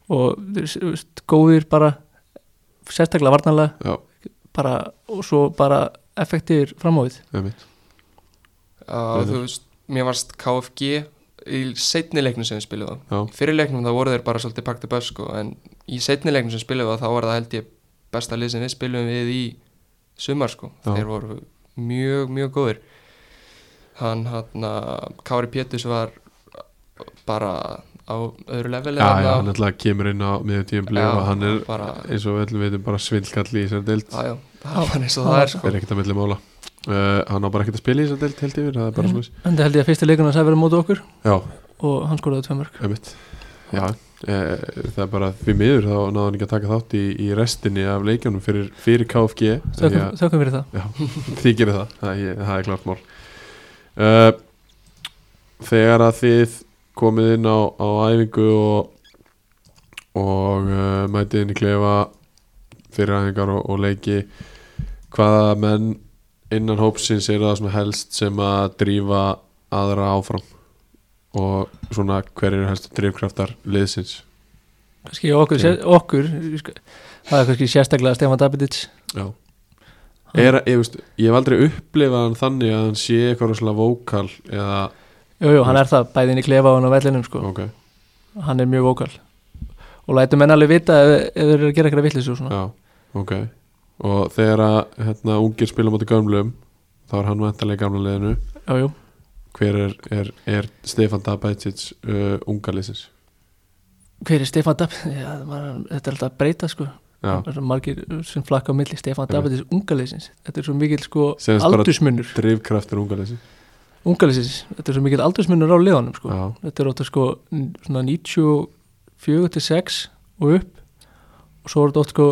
Speaker 4: og þeir, þú veist, góðir bara sérstaklega varnarlega
Speaker 2: já,
Speaker 4: bara, og svo bara effektífir framóðið
Speaker 2: einmitt
Speaker 3: og þú veist, mér varst KFG í seinni leiknum sem við spilum það
Speaker 2: Já,
Speaker 3: í fyrir leiknum þá voru þeir bara svolítið pakta börs sko, en í seinni leiknum sem spilum við þá var það held ég besta lið sem við spilum við í sumar sko,
Speaker 2: Já.
Speaker 3: þeir voru mjög, mjög góðir hann hann að Kári Pétus var bara á öðru leveli
Speaker 2: já,
Speaker 3: þarna.
Speaker 2: já, hann alltaf kemur inn á miðjum tíum
Speaker 3: Já,
Speaker 2: og hann er
Speaker 3: bara,
Speaker 2: eins og við öllum veitum bara svindlkall í þessar deild
Speaker 3: já, já, það var eins og það er sko
Speaker 2: er ekkert að milli mála uh, hann á bara ekkert að spila í þessar deild held yfir, það er
Speaker 3: Mhm.
Speaker 2: bara
Speaker 4: Mm.
Speaker 2: slús
Speaker 4: enda held ég að fyrsti leikurinn að sæða verið móti okkur
Speaker 2: Já,
Speaker 4: og hann skoraði tvö mörg
Speaker 2: Einmitt. Já, e, það er bara því miður þá náðu hann ekki að taka þátt í, í restinni af leikjónum fyrir, fyrir KFG því
Speaker 4: þökkum,
Speaker 2: að-
Speaker 4: þökkum fyrir það
Speaker 2: já, því gerir það, það, ég, það er klart mál uh, Þegar að þið komið inn á, á æfingu og, og uh, mætið inn í klefa fyrir æfingar og, og leiki hvaða menn innan hópsins er það svona helst sem að drífa aðra áfram og svona hverjir eru helstu drifkraftar liðsins
Speaker 4: kannski okkur, sér, okkur sko, það er kannski sérstaklega Stefán Davidits
Speaker 2: Já, er, ég, veist, ég hef aldrei upplifað hann þannig að hann sé eitthvað rosalega vókal eða,
Speaker 4: Jú, jú, hann er það, bæðin í klefa og á vellinum sko.
Speaker 2: ok,
Speaker 4: hann er mjög vókal og lætur menn alveg vita ef, ef þeir eru að gera eitthvað villis og svona
Speaker 2: já, ok og þegar að hérna, ungir spila mútið gömlum þá er hann vantarlega í gamla liðinu
Speaker 4: já, jú,
Speaker 2: hver er, er, er Stefan Dabætsits uh, unga liðsins
Speaker 4: hver er Stefán Dab já, man, þetta er alltaf að breyta sko
Speaker 2: já,
Speaker 4: Það eru margir sem flakka á milli Stefán
Speaker 2: Einmitt.
Speaker 4: Dab, þetta er ungarleysins þetta er svo mikill sko
Speaker 2: Segðast bara-
Speaker 4: aldursmunur
Speaker 2: drifkraftur unga liðsins
Speaker 4: ungarleysins, þetta er svo mikill aldursmunur á liðanum sko.
Speaker 2: já,
Speaker 4: þetta er ótaf sko n- svona 94 til 6 og upp og svo er þetta ótaf sko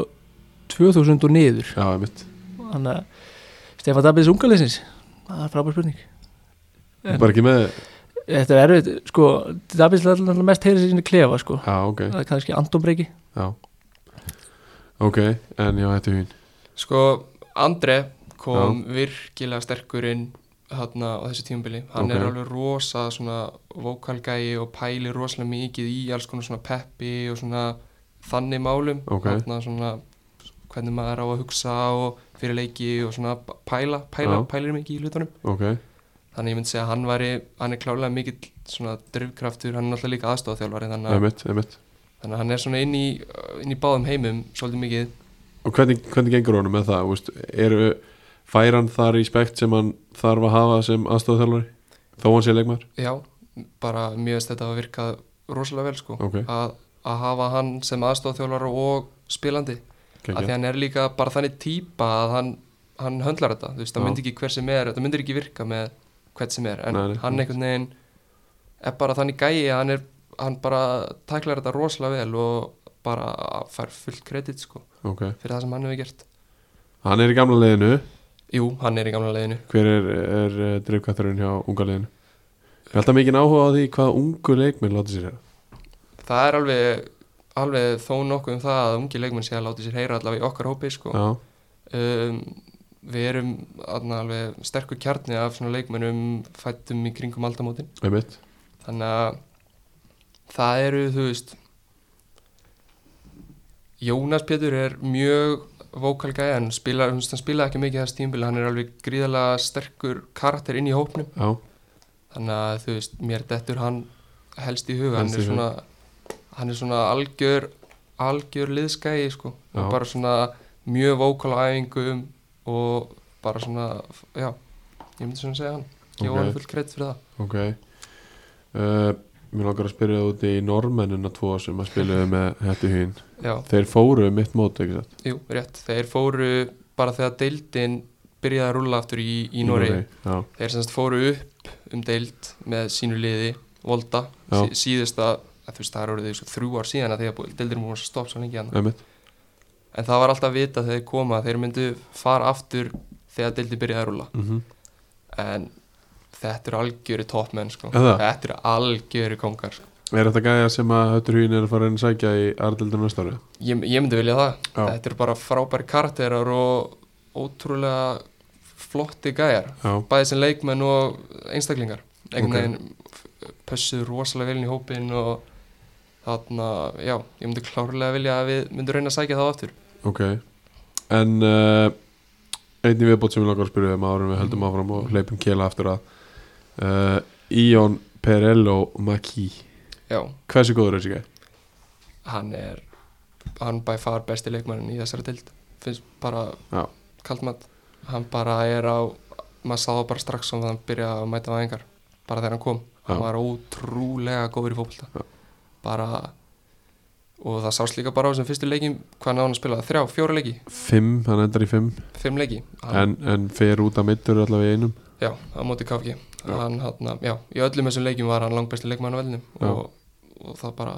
Speaker 4: 2000 og niður
Speaker 2: já, emitt
Speaker 4: þannig að Stefán Dab er þessi ungarleysins það er frábær spurning En-
Speaker 2: bara ekki með,
Speaker 4: Þetta er erfið, sko, Davids er alltaf mest heyrið sér sinni klefa, sko.
Speaker 2: já, ok
Speaker 4: Það er kannski Anton Breki.
Speaker 2: já, ok en já, þetta er hún
Speaker 3: Sko, Andre kom virkilega sterkur inn þarna á þessu tímabili hann er
Speaker 2: Ok.
Speaker 3: alveg rosa svona vokalgæi og pælir rosalega mikið í alls konar svona peppi og svona þannig málum
Speaker 2: Ok.
Speaker 3: þarna svona hvernig maður á að hugsa og fyrir leiki og svona pæla, pæla,
Speaker 2: Já.
Speaker 3: pælir mikið í hlutunum
Speaker 2: ok,
Speaker 3: þannig ég myndi segja að hann væri, hann er klálega mikill svona drifkraftur, hann er náttúrulega líka aðstofþjálfari þannig, að-
Speaker 2: emitt, emitt
Speaker 3: þannig að hann er svona inn í, inn í báðum heimum svolítið mikið
Speaker 2: og hvernig, hvernig gengur honum með það, þú veist eru, fær hann það respekt sem hann þarf að hafa sem aðstofþjálfari þó hann sé leikmar,
Speaker 3: Já, bara mjög veist þetta að virka rosalega vel sko
Speaker 2: Ok.
Speaker 3: að, að hafa hann sem aðstofþjólari og spilandi að því
Speaker 2: geggjað
Speaker 3: hann er líka bara þannig típa að hann, hann höndlar þetta, þú veist, það
Speaker 2: Já.
Speaker 3: myndi ekki hver sem er það myndir ekki virka með hvert sem er en
Speaker 2: Nei, nei.
Speaker 3: hann einhvern veginn er bara þannig gæi að hann, er, hann bara tæklar þetta rosalega vel og bara fær fullt kredit sko
Speaker 2: ok,
Speaker 3: fyrir það sem hann hefur gert
Speaker 2: hann er í gamla liðinu
Speaker 3: Jú, hann er í gamla leiðinu
Speaker 2: hver er, er eh, drifkatturinn hjá unga liðinu ég er alltaf mikið áhuga á því hvað ungu leikminn láta sér heyra
Speaker 3: það er alveg, alveg þó nokkuð um það að ungi leikmenn sé að láta sér heyra allavega í okkar hópi sko
Speaker 2: já,
Speaker 3: um, við erum aðna, alveg sterkur kjarni af svona leikmennum fættum í kringum aldamótin
Speaker 2: einmitt
Speaker 3: þannig að það eru þú veist Jónas Pétur er mjög vókalgæði en spila, hann spilaði ekki mikið þess tímbili hann er alveg gríðalega sterkur karakter inn í hópnum
Speaker 2: já,
Speaker 3: þannig að þú veist mér dettur hann helst í huga hann
Speaker 2: Helst
Speaker 3: er
Speaker 2: í hug.
Speaker 3: svona, hann er svona algjör algjör liðskæi sko
Speaker 2: Já.
Speaker 3: og bara svona mjög vókal á æfingum og bara svona f- já, ég myndi svona segja hann ég
Speaker 2: Ok.
Speaker 3: var full kreitt fyrir það
Speaker 2: ok uh, mér langar að spyrja það út í normennina tvo sem að spiluðu með hættu hýn
Speaker 3: já,
Speaker 2: þeir fóru um mitt mót, ekki satt
Speaker 3: jú, rétt, þeir fóru bara þegar deildin byrjaði að rúlla aftur í, í Nóri
Speaker 2: já,
Speaker 3: þeir semst fóru upp um deild með sínu liði, Volta
Speaker 2: Já.
Speaker 3: sí, síðasta, að þú veist það eru orðið sko, þrjú ár síðan að því að deildin múið að stoppa svo lengi hérna. hann
Speaker 2: einmitt
Speaker 3: En það var alltaf vita þegar þeir koma að þeir myndu fara aftur þegar deildi byrjaði að rúla.
Speaker 2: mm
Speaker 3: En þetta eru algjöri toppmenn sko.
Speaker 2: Er það?
Speaker 3: Þetta eru algjöri kongar sko.
Speaker 2: Er þetta gæja sem að höttur hýn er að fara inn að sækja í Ardeldum næsta ári?
Speaker 3: Ég, ég myndi vilja það.
Speaker 2: Já.
Speaker 3: Þetta eru bara frábæri karakterar og ótrúlega flotti gæjar.
Speaker 2: Já,
Speaker 3: Bæði sem leikmenn og einstaklingar. Einhvern
Speaker 2: Ok.
Speaker 3: veginn pössuð rosalega vel inn í hópin og þarna, já, ég myndi klárlega vilja að við myndum reyna að sækja það aftur.
Speaker 2: ok En uh, einnig viðbót sem við langar að spyrja um árum við höldum áfram og hleypum kela aftur að uh, Ion Perello Maki
Speaker 3: Já,
Speaker 2: Hversu góður er þessi gæja?
Speaker 3: hann er hann bæ far besti leikmannin í þessari dild finnst bara
Speaker 2: Já.
Speaker 3: kalt mat hann bara er á maður sá það bara strax sem hann byrjaði að mæta væðingar bara þegar hann kom, hann
Speaker 2: Já.
Speaker 3: var ótrúlega góður í fótbolta
Speaker 2: Já.
Speaker 3: bara og það sást líka bara á þessum fyrstu leikim hvað náðan að spila, þrjá, fjóra leiki
Speaker 2: Fimm, hann endar í fimm
Speaker 3: fimm leiki, hann,
Speaker 2: en, en fer út að mittur allavega í einum
Speaker 3: já, á móti KFG
Speaker 2: Já.
Speaker 3: hann, hann, já, í öllum þessum leikim var hann langbæsti leikmann á velnum
Speaker 2: Já.
Speaker 3: og, og það bara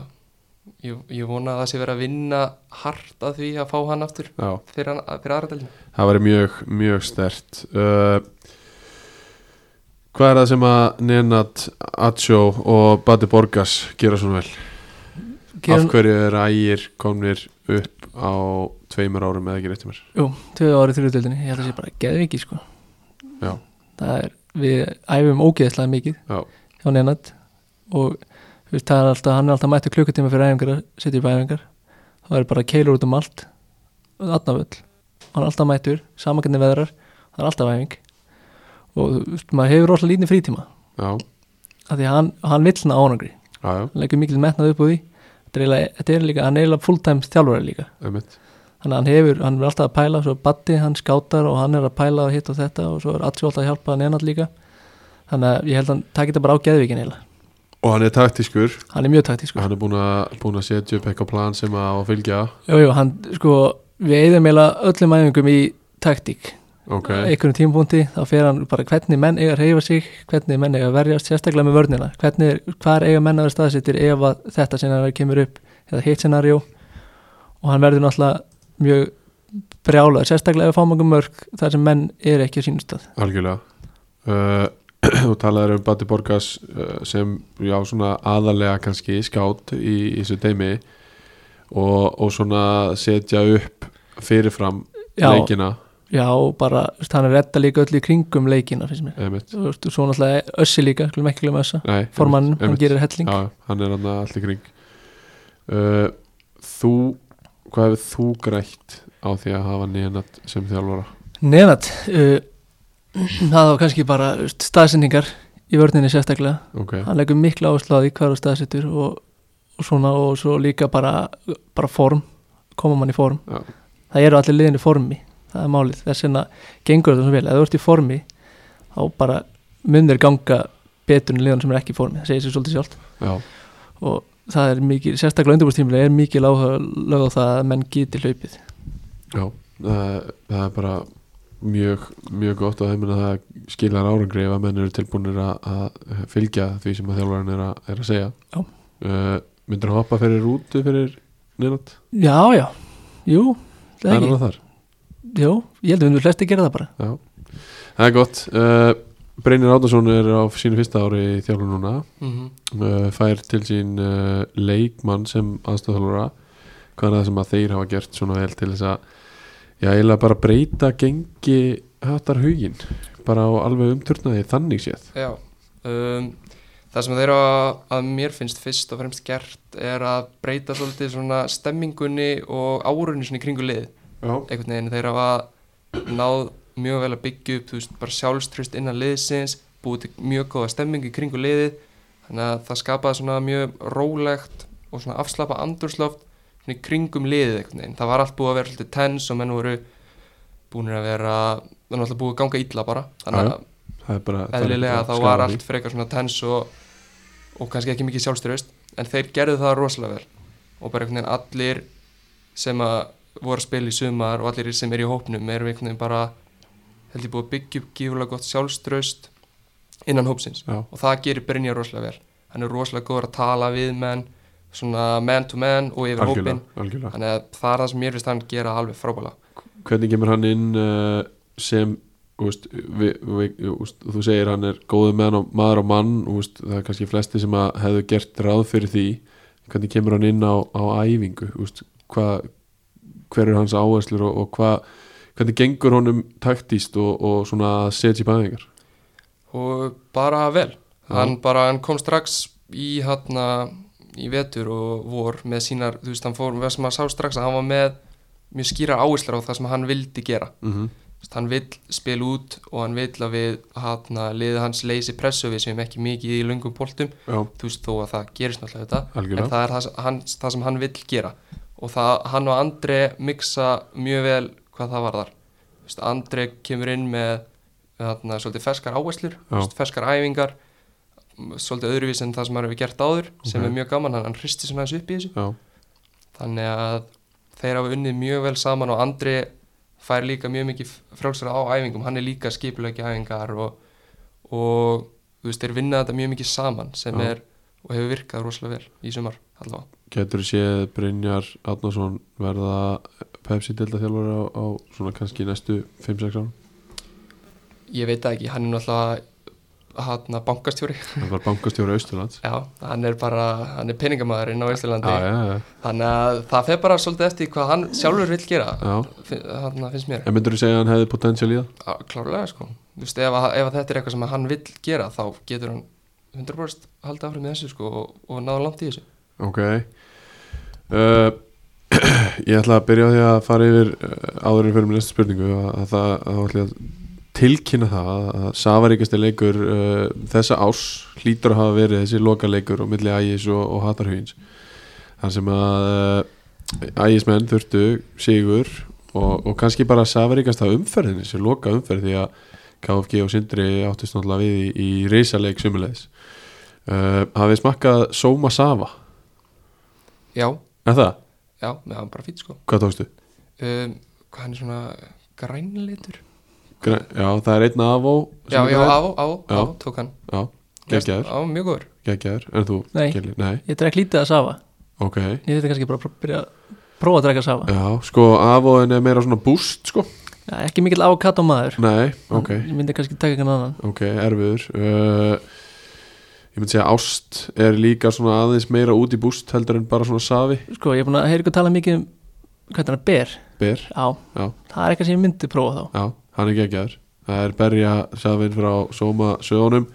Speaker 3: ég, ég vona að það sé verið að vinna hart að því að fá hann aftur
Speaker 2: Já,
Speaker 3: fyrir, hann- fyrir aðra deildin
Speaker 2: það væri mjög, mjög stert uh, Hvað er það sem að Nenad Atsjó og Bati Borgas gera svona vel? Af
Speaker 4: Gerum
Speaker 2: hverju er ægir komnir upp á tveimur árum eða ekki réttum mér?
Speaker 4: tvöðu árið þrjútöldinni, ég held að sé bara geðviki, sko.
Speaker 2: Já.
Speaker 4: Það er, við æfum ógeðslega mikið
Speaker 2: Já,
Speaker 4: hjá Nenad og þú veist, það er alltaf, hann er alltaf mættu klukkutíma fyrir æfingar að setja upp æfingar. Það er bara keilur út um allt, aðnaföll, hann er alltaf mætur, samakarnir veðrar það er alltaf æfing og þú veist, maður hefur rosalega lítið frítíma
Speaker 2: já,
Speaker 4: af því að hann, hann vill ná ánangri
Speaker 2: já, já,
Speaker 4: hann leggur mikil metnað upp á því þetta er, eiginlega- þetta er líka, hann er eiginlega fulltime þjálfari líka
Speaker 2: einmitt
Speaker 4: þannig að hann hefur, hann er alltaf að pæla svo Batti, hann skátar og hann er að pæla og hitt og þetta og svo er Atsi alltaf að hjálpa hann einat líka þannig að ég held að hann takit þetta bara á geðvíkin eiginlega,
Speaker 2: og hann er taktískur,
Speaker 4: hann er mjög taktískur
Speaker 2: hann er búin að búin að setja upp eitthvað plan sem að á að fylgja
Speaker 4: jú, jú, hann, sko, við eigðum eiginlega öllum æfingum í taktík
Speaker 2: ok,
Speaker 4: einhvern tímpúnti, þá fer hann bara hvernig menn eiga að reyfa sig, hvernig menn eiga að verjast sérstaklega með vörnina, hvernig, hvar eiga menn að vera staðsettir ef að þetta scenario kemur upp eða hitt scenario og hann verður náttúrulega mjög brjálaður, sérstaklega ef að fá mörg mörg þar sem menn eru ekki á sínum stað
Speaker 2: algjörlega uh, og talaður um Batti Borgas uh, sem, já, svona aðalega kannski skátt í, í þessu deimi og, og svona setja upp fyrirfram
Speaker 4: Já.
Speaker 2: leikina,
Speaker 4: Já, og bara, þú veist, hann er redda líka öll í kringum leikina, finnst mér
Speaker 2: einmitt
Speaker 4: Þú veist, og svo náttúrulega össi líka, skulum ekki glema össa
Speaker 2: Nei, einmitt,
Speaker 4: formann, hann
Speaker 2: einmitt.
Speaker 4: gerir helling
Speaker 2: Já, hann er hann allir kring uh, Þú hvað hefur þú grætt á því að hafa nýjanat sem þjálfara?
Speaker 4: Nenat, uh, það var kannski bara þú veist, staðsendingar í vörninni sérstaklega
Speaker 2: Ok,
Speaker 4: hann leggur mikla áherslu á því hvað er staðsettur og, og svona og svo líka bara, bara form koma mann í form
Speaker 2: Já.
Speaker 4: það eru allir liðin í formi, það er málið þess vegna gengur þetta svo vel, ef þú ert í formi þá bara munir ganga betur en liðan sem er ekki í formi það segir sér svolítið sjálft
Speaker 2: já,
Speaker 4: og það er mikið, sérstaklega undirbúrstímulega er mikið lög á það að menn geti hlaupið
Speaker 2: já uh, Það er bara mjög, mjög gott og heiminn að það skilar árangri ef að menn eru tilbúinir að, að fylgja því sem að þjálfarinn er, að- er að segja
Speaker 4: Já.
Speaker 2: uh, Myndir hoppa fyrir rútu fyrir nýjanat?
Speaker 4: já, já, jú það
Speaker 2: Það
Speaker 4: er
Speaker 2: er
Speaker 4: ekki,
Speaker 2: hann þar,
Speaker 4: jú, ég held að við myndum flesti gera það bara
Speaker 2: já Það er gott uh, Brynir Átnason er á sínu fyrsta ári í þjálfur núna
Speaker 3: mm -hmm.
Speaker 2: uh, fær til sín uh, leikmann sem aðstofþjálfara hvað er það sem að þeir hafa gert svona vel til þess að já, eiginlega bara breyta gengi hattar hugin bara á alveg umturnaði þannig séð
Speaker 3: Já, um, það sem þeirra að mér finnst fyrst og fremst gert er að breyta svolítið svona stemmingunni og árunni svona í kringu lið
Speaker 2: já,
Speaker 3: einhvern veginn þeirra að náð mjög vel að byggja upp þú veist, bara sjálfströst innan liðsins búið til mjög góða stemmingu í kringu liðið þannig að það skapaði svona mjög rólegt og svona afslapa andursloft svona í kringum liðið einhvern veginn það var allt búið að vera svolítið tens og menn voru búinir að vera það var alltaf búið að ganga illa bara þannig
Speaker 2: Já,
Speaker 3: að
Speaker 2: það er bara það er
Speaker 3: eðlilega
Speaker 2: bara
Speaker 3: þá
Speaker 2: skaðað
Speaker 3: var
Speaker 2: því.
Speaker 3: allt frekar svona tens og, og kannski ekki mikið sjálfstyrust en þeir gerðu það rosalega vel og bara einhvern veginn allir sem að voru að spila í sumar og allir sem eru í hópnum eru einhvern veginn bara held ég búið að byggja upp gífulega gott sjálfströst innan hópsins
Speaker 2: já,
Speaker 3: og það gerir Brynja rosalega vel hann er rosalega góður að tala við menn svona man to man og yfir
Speaker 2: algjörlega,
Speaker 3: hópin
Speaker 2: algjörlega
Speaker 3: þannig að það er það sem mér finnst hann gera alveg frábæla
Speaker 2: hvernig kemur hann inn uh, sem þú veist, vi, vi, úst, þú segir hann er góðu menn og maður og mann úst, það er kannski flesti sem að hefðu gert ráð fyrir því hvernig kemur hann inn á, á æfingu úst, hva, hver er hans áherslur og, og hva, hvernig gengur honum taktíst og, og svona að setja í bæðingar
Speaker 3: og bara vel hann bara, hann kom strax í hérna í vetur og vor með sínar, þú veist, hann fór það sem að sá strax að hann var með mjög skýrar áherslur á það sem hann vildi gera
Speaker 2: mm -hmm.
Speaker 3: Þú veist, hann vill spila út og hann vill að við hérna, liðið hans leysi pressu við sem ekki mikið í löngum boltum
Speaker 2: já,
Speaker 3: þú veist þó að það gerist náttúrulega þetta
Speaker 2: Algjörlega.
Speaker 3: en það er það, sem- hann, það sem hann vill gera og það, hann og Andri miksa mjög vel hvað það varðar Þú veist, Andri kemur inn með þarna, svolítið ferskar áherslur
Speaker 2: Já.
Speaker 3: þú veist, ferskar æfingar m- svolítið öðruvís en það sem hann hefur gert áður sem
Speaker 2: Ok.
Speaker 3: er mjög gaman, hann, hann hristi svona þessu upp í þessu
Speaker 2: já,
Speaker 3: þannig að þeir hafa unnið mjög vel saman og Andri fær líka mjög mikið frálsara á æfingum, hann er líka skipulegi æfingar og, og þú veist, þeir vinna þetta mjög mikið saman sem
Speaker 2: Já.
Speaker 3: er og hefur virkað rosalega vel í sumar allavega.
Speaker 2: getur séð Brynjar Adnason verða Pepsi delta þjálfur á, á svona kannski næstu 5-6 árum
Speaker 3: Ég veit það ekki, hann er náttúrulega hann að bankastjóri
Speaker 2: það var bankastjóri Austurlands
Speaker 3: Já, hann er bara, hann er peningamæðurinn á Íslandi
Speaker 2: já, já, já,
Speaker 3: þannig að það fer bara svolítið eftir hvað hann sjálfur vill gera
Speaker 2: já
Speaker 3: hann finnst mér
Speaker 2: En myndur þú segja að hann hefði potensial í það?
Speaker 3: Á- klárlega sko Þú veist, ef, að- ef að þetta er eitthvað sem að hann vill gera þá getur hann 100% haldið áfram í þessu sko og, og náða langt í þessu
Speaker 2: Ok uh, Ég ætla að byrja á því að fara yfir eh, áður en fyrir með næstu spurningu að, að það að ætla ég að tilkynna það að- að safaríkasti leikur uh, þessa ás hlýtur að hafa verið þessi loka leikur á milli ægis og, og hattarhugins þar sem að uh, ægismenn þurftu sigur og, og kannski bara safaríkast að umferðinni sem loka umferð því að KFG og Sindri áttist náttúrulega við í, í reysaleik sumulegis uh, hafið smakkað Soma Safa
Speaker 3: já,
Speaker 2: en það,
Speaker 3: já, með hann bara fýtt sko
Speaker 2: hvað tókstu?
Speaker 3: um, hvað hann er svona grænleitur
Speaker 2: Græ- Já, það er einn avó sem
Speaker 3: já,
Speaker 2: er
Speaker 3: já,
Speaker 2: grænn.
Speaker 3: á, á,
Speaker 2: Já.
Speaker 3: á, tók hann
Speaker 2: Já, geggjaður,
Speaker 3: á, mjög góður
Speaker 2: geggjaður En þú,
Speaker 4: Nei.
Speaker 2: Kelly? Nei,
Speaker 4: Ég drekk lítið að safa
Speaker 2: ok
Speaker 4: Ég þetta kannski bara að byrja að prófa að drekka safa
Speaker 2: Já, sko, avóin er meira svona búst, sko
Speaker 4: Já, Ekki mikill ákatt á maður
Speaker 2: Nei, ok,
Speaker 4: Ég myndi kannski taka einhvern annan
Speaker 2: ok, erfiður uh, Ég myndi segja ást er líka svona aðeins meira út í búst heldur en bara svona safi
Speaker 4: Sko, ég er búin að heyra ykkur tala mikið um hvað þetta er ber
Speaker 2: Ber,
Speaker 4: Já,
Speaker 2: Já.
Speaker 4: það er eitthvað sem ég myndi prófa þá
Speaker 2: já, hann er geggjaður Það er berja safin frá Soma sögunum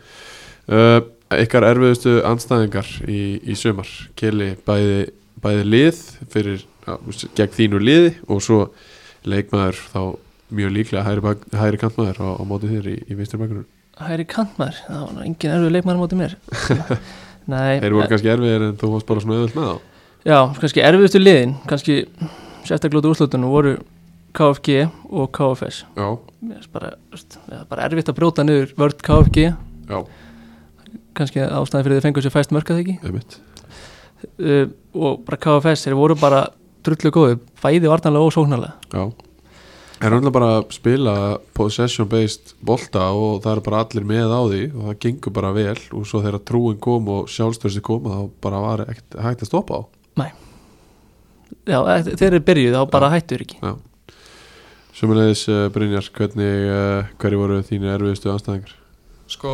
Speaker 2: uh, Ykkar erfiðustu anstæðingar í, í sumar Kelly bæði, bæði lið fyrir, já, þú veist, gegn þínu liði og svo leikmaður þá mjög líklega hægri, bak, hægri kantmaður á, á móti þér í, í vinstri bakunum
Speaker 4: Hæri kantmaður, það var nú engin erfið leikmaður á móti mér Nei,
Speaker 2: Þeir voru kannski erfiðir en þú varst bara svona auðvöld með þá
Speaker 4: já, kannski erfiðustu liðin kannski sérstaklega út úr úrslutunum voru KFG og KFS
Speaker 2: Já,
Speaker 4: Mér finnst bara, þú veist, það er bara erfitt að brjóta niður vörd KFG
Speaker 2: já,
Speaker 4: kannski ástæðan fyrir þið fengur sér fæst mörka þegar ekki
Speaker 2: einmitt
Speaker 4: uh, og bara KFS, þeir voru bara drullu góði, bæði vartanlega og sóknarlega
Speaker 2: Já Það er náttúrulega bara að spila possession based bolta og það er bara allir með á því og það gengur bara vel og svo þegar trúin kom og sjálfstörsi kom þá bara var ekkert hægt að stoppa á
Speaker 4: Já, eh, þeir eru byrjuð þá bara hættur ekki
Speaker 2: Sumulegis uh, Brynjar, hvernig uh, hverju voru þínu erfiðustu anstæðingar?
Speaker 3: sko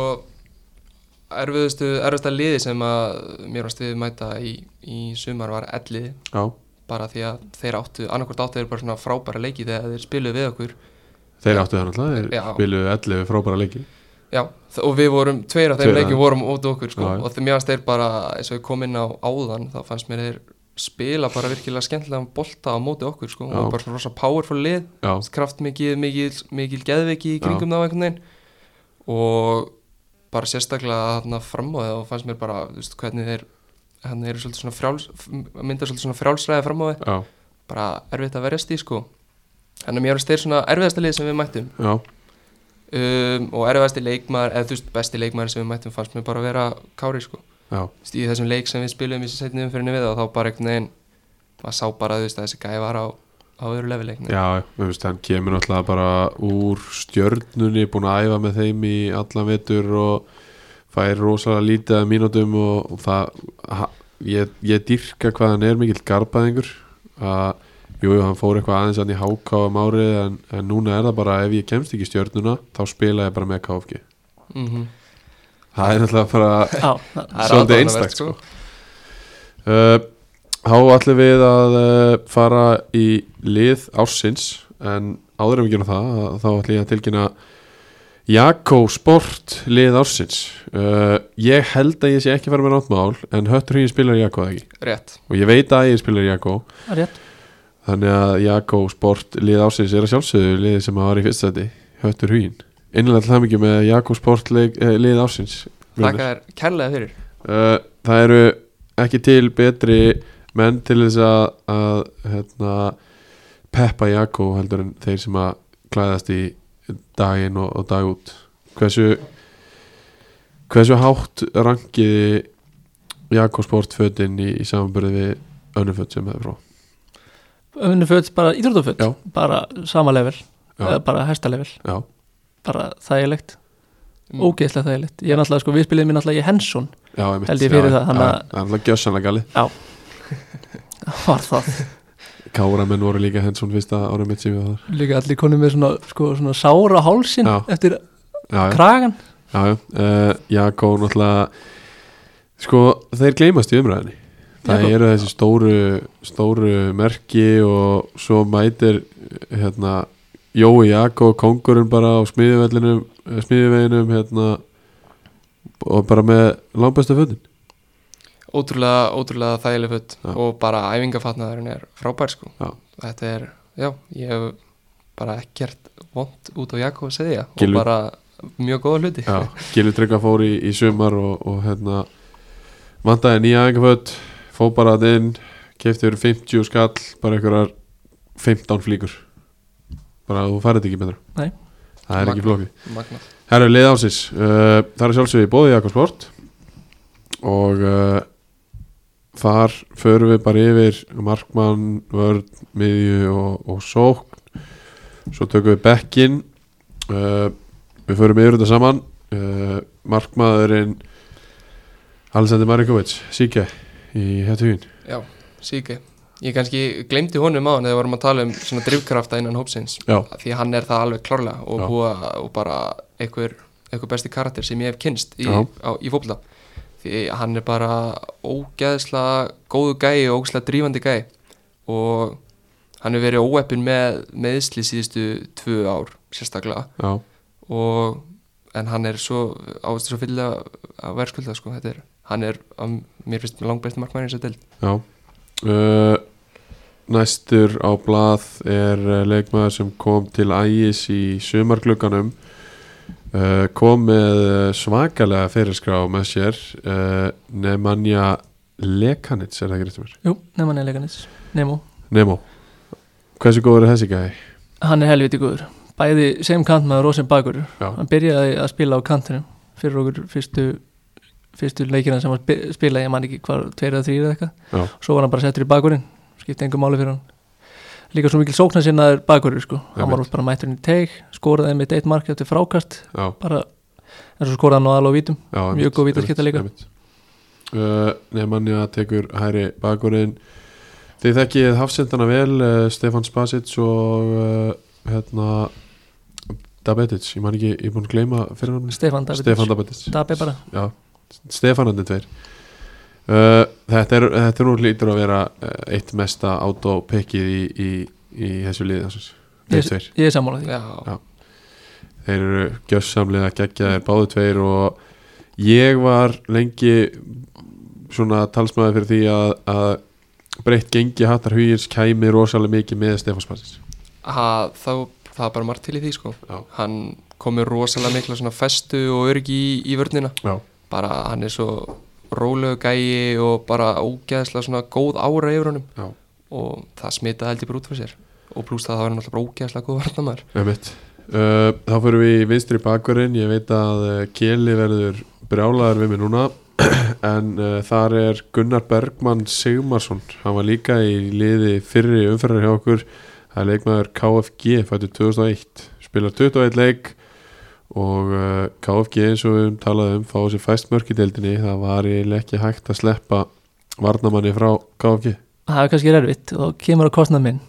Speaker 3: erfiðustu, erfiðasta liði sem að mér var stuðið mæta í, í sumar var elliði
Speaker 2: Já,
Speaker 3: bara því að þeir áttu, annarkvort áttu þeir bara svona frábæra leiki þegar þeir spiluðu við okkur
Speaker 2: þeir áttu það náttúrulega þeir
Speaker 3: Já.
Speaker 2: spiluðu 11 frábæra leiki
Speaker 3: já, þ- og við vorum, tveir af þeim
Speaker 2: Tveir af
Speaker 3: leikjum
Speaker 2: þeim.
Speaker 3: vorum út okkur sko,
Speaker 2: Já, já.
Speaker 3: og þeim jást þeir bara, eins og ég kom inn á áðan þá fannst mér þeir spila bara virkilega skemmtilega bolta á móti okkur sko,
Speaker 2: Já.
Speaker 3: og bara svona rosa powerful lið
Speaker 2: Já,
Speaker 3: kraftmikið, mikil, mikil geðveiki í kringum það á einhvern veginn og bara sérstaklega þarna fram á það og fannst mér bara þú veist, hvernig þeir hann eru svolítið svona frjáls að mynda svolítið svona frjálsræði fram á það
Speaker 2: já,
Speaker 3: bara erfitt að verjast í sko þannig að mér varst þeir svona erfiðasta lið sem við mættum
Speaker 2: já,
Speaker 3: um, og erfiðasti leikmaður eða þú veist besti leikmaður sem við mættum fannst mér bara að vera Kári sko
Speaker 2: já,
Speaker 3: Þú veist, í þessum leik sem við spilum í þessu setni umfyrinni við og þá bara einhvern veginn maður sá bara þú veist að þessi gæði var á, á öðru lefileikni
Speaker 2: já, við veist hann kemur náttúrulega bara úr stjörnunni búin að æfa með þeim í allan vetur og fær rosalega lítið að mínútum og, og það ha, ég, ég dýrka hvað hann er mikill garbaðingur að jú, jú, hann fór eitthvað aðeins hann í háká um árið en, en núna er það bara ef ég kemst ekki í stjörnuna þá spila ég bara með KFG
Speaker 3: mm
Speaker 2: það er náttúrulega bara
Speaker 4: Já, það-
Speaker 3: Það er
Speaker 2: Svolítið
Speaker 3: aðdáunarvert,
Speaker 2: einstakt
Speaker 3: sko.
Speaker 2: sko. uh, Há allir við að uh, fara í lið ársins en áður en við gerum það að- þá ætlum ég að tilkynna Jakko Sport lið ársins uh, Ég held að ég sé ekki fara með náttmál en höttur hugin spilar Jakko eða ekki
Speaker 3: rétt
Speaker 2: og ég veit að ég spilar Jakko
Speaker 4: það er rétt
Speaker 2: þannig að Jakko Sport lið ársins er að sjálfsögðu lið sem að var í fyrst sæti höttur hugin Innlega til það mikið með Jakko Sport leik, eh, lið ársins vinur.
Speaker 3: Þakka þér kærlega fyrir
Speaker 2: Uh, það eru ekki til betri menn til þess að, að hérna, peppa Jakko heldur en þeir sem að klæðast í daginn og, og dag út hversu hversu hátt rangiði Jakko sportfötin í, í samanbörði við önnuföt sem hefur frá
Speaker 4: Önnu föt, bara íþróttaföt
Speaker 2: Já.
Speaker 4: Bara sama level,
Speaker 2: Já.
Speaker 4: eða bara hæsta level
Speaker 2: já,
Speaker 4: Bara þægilegt,
Speaker 3: Mm.
Speaker 4: ógeðslega þægilegt Ég er náttúrulega, sko, við spilum mér náttúrulega í Henson
Speaker 2: já, einmitt.
Speaker 4: Held ég fyrir
Speaker 2: já,
Speaker 4: það, hann
Speaker 2: já,
Speaker 4: að-
Speaker 2: það er alltaf gjössanlega galið
Speaker 4: Var það
Speaker 2: Káramenn voru líka henn svona fyrsta ára mitt sem ég var
Speaker 4: Líka allir konum með svona, sko, svona sára hálsin
Speaker 2: Já.
Speaker 4: Eftir
Speaker 2: þar já, já.
Speaker 4: kragan
Speaker 2: Já, já, uh, Jakko náttúrulega sko, þeir gleymast í umræðinni það
Speaker 4: Jakko?
Speaker 2: eru þessi stóru stóru merki og svo mætir hérna, Jói Jakko, kongurinn bara á eh, smiðuvellinum, smiðuveginum hérna, og bara með langbæsta fötin
Speaker 3: ótrúlega, ótrúlega þægileg föt
Speaker 2: Já.
Speaker 3: og bara æfingafatnaðurinn er frábær sko
Speaker 2: Já.
Speaker 3: þetta er, já, ég hef bara ekkert vond út á Jakob að segja
Speaker 2: Gylfi-
Speaker 3: og bara mjög góða hluti
Speaker 2: Já, Gilvi Tryggva fór í, í sumar og, og hérna vandaði nýja æfingaföt fór bara að inn, kefti fyrir 50 skall bara einhverjar 15 flíkur bara þú færið ekki betra
Speaker 4: Nei.
Speaker 2: það er
Speaker 3: Magnað.
Speaker 2: ekki flókið
Speaker 3: magnað,
Speaker 2: Herru, lið ásins, uh, það er sjálfsögði bóði Jakobsport og uh, þar förum við bara yfir markmann, vörn, miðju og, og sókn svo tökum við bekkin uh, við förum yfir þetta saman uh, markmaðurinn Alexander Marinkovic, síkja í hættuðin
Speaker 3: já, síki ég kannski glemdi honum á hann þegar við vorum að tala um svona drivkrafta innan hópsins
Speaker 2: Já,
Speaker 3: því hann er það alveg klárlega og,
Speaker 2: Já.
Speaker 3: búa, og bara einhver, einhver besti karakter sem ég hef kynst í,
Speaker 2: Já.
Speaker 3: á- í fótbolta því hann er bara ógeðslega góðu gæi og ógeðslega drífandi gæi og hann hefur verið óeppin með meðsli síðustu tvö ár sérstaklega
Speaker 2: já,
Speaker 3: og en hann er svo ástu svo fyll að verðskulda sko, þetta er, hann er að, mér finnst langbæsti markmæri eins og delt
Speaker 2: já uh, Næstur á blað er eh, leikmaður sem kom til ægis í sumarglugganum uh, kom með eh, svakalega fyrirskrá með sér uh, Nemanja Lekanits er það ekki réttum mér
Speaker 4: Jú, nefnum hann er leikanis Nemo
Speaker 2: Nemo, hversu góður er þessi gæði?
Speaker 4: Hann er helviti góður Bæði sem kantmaður og sem bakur
Speaker 2: Já,
Speaker 4: Hann byrjaði að spila á kantinum Fyrir okkur fyrstu Fyrstu leikina sem hann spi- spilaði Ég man ekki hvar, tveir eða þrýr eða
Speaker 2: Já.
Speaker 4: eitthvað Svo var hann bara settur í bakurinn Skipti engum máli fyrir hann Líka svo mikil sóknar sinnaður bakurinn sko Hann var
Speaker 2: Einmitt.
Speaker 4: út bara mætturinn í teig Skoraði mitt eitt mark eftir frákast
Speaker 2: já,
Speaker 4: Bara En svo skoraði hann á alveg vítum
Speaker 2: já
Speaker 4: Mjög góð vítaskipta líka.
Speaker 2: uh, Nemanja tekur hæri bakurinn Þið þekkið hafsendana vel uh, Stefan Spasic og uh, hérna Dabetic, ég man ekki, ég er búin að gleyma fyrirnafni
Speaker 4: Stefan David
Speaker 2: Stefan Dabetis
Speaker 4: Dabi bara
Speaker 2: Já, Stefanandi tveir uh, Þetta er, þetta er nú lítur að vera uh, eitt mesta autopickið í, í, í þessu liði þessum. Þeir tveir
Speaker 4: Ég er sammála því
Speaker 3: já,
Speaker 2: Já. Þeir eru gjössamlega geggjaðir báðu tveir og ég var lengi svona talsmaður fyrir því að, að breytt gengi hattar hugins kæmi rosalega mikið með Stefán Spassins
Speaker 3: að, þá, það er bara margt til í því sko
Speaker 2: Já.
Speaker 3: hann komur rosalega mikla svona festu og örgi í, í vörnina
Speaker 2: Já,
Speaker 3: bara hann er svo rólegu gæi og bara ógeðslega svona góð ára yfir honum
Speaker 2: já,
Speaker 3: og það smitaði held ég bara út fyrir sér og pluss það þá er hann alltaf bara ógeðslega góð varnamær
Speaker 2: einmitt uh, Þá fyrir við í vinstri bakverðin ég veit að uh, Keli verður brjálaður við mig núna en uh, þar er Gunnar Bergmann Sigmarsson, hann var líka í liði fyrri umferðar hjá okkur það er leikmaður KFG fættur 2001, spilar 21 leik og uh, KFG eins og við höfum talað um fáið sér fæst mörk í deildinni, það var eiginlega ekki hægt að sleppa varnamanni frá KFG
Speaker 4: það er kannski erfitt og þá kemur að kostnað minn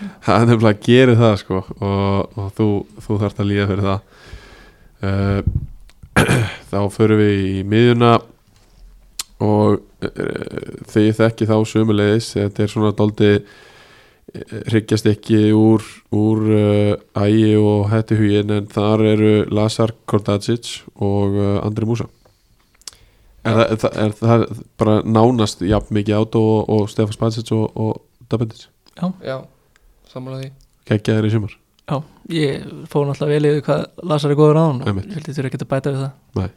Speaker 2: Það er nefnilega að gera það sko og, og þú, þú þarft að líða fyrir það uh, Þá förum við í miðjuna og uh, þegar þekki þá sömulegis þetta er svona dáldi hryggjast ekki úr, úr uh, ægi og hætti hugin en þar eru Lazar Kordacic og uh, Andri Músa Er, það, er, það, er það bara nánast jafn mikið át og, og Stefán Spatsic og, og Dabendic?
Speaker 3: já, sammála því
Speaker 2: Kækja þér í sumar
Speaker 4: Já, ég fór náttúrulega vel yfir hvað Lasar er góður á hann og
Speaker 2: Einmitt.
Speaker 4: ég held ég þurfi ekki að bæta við það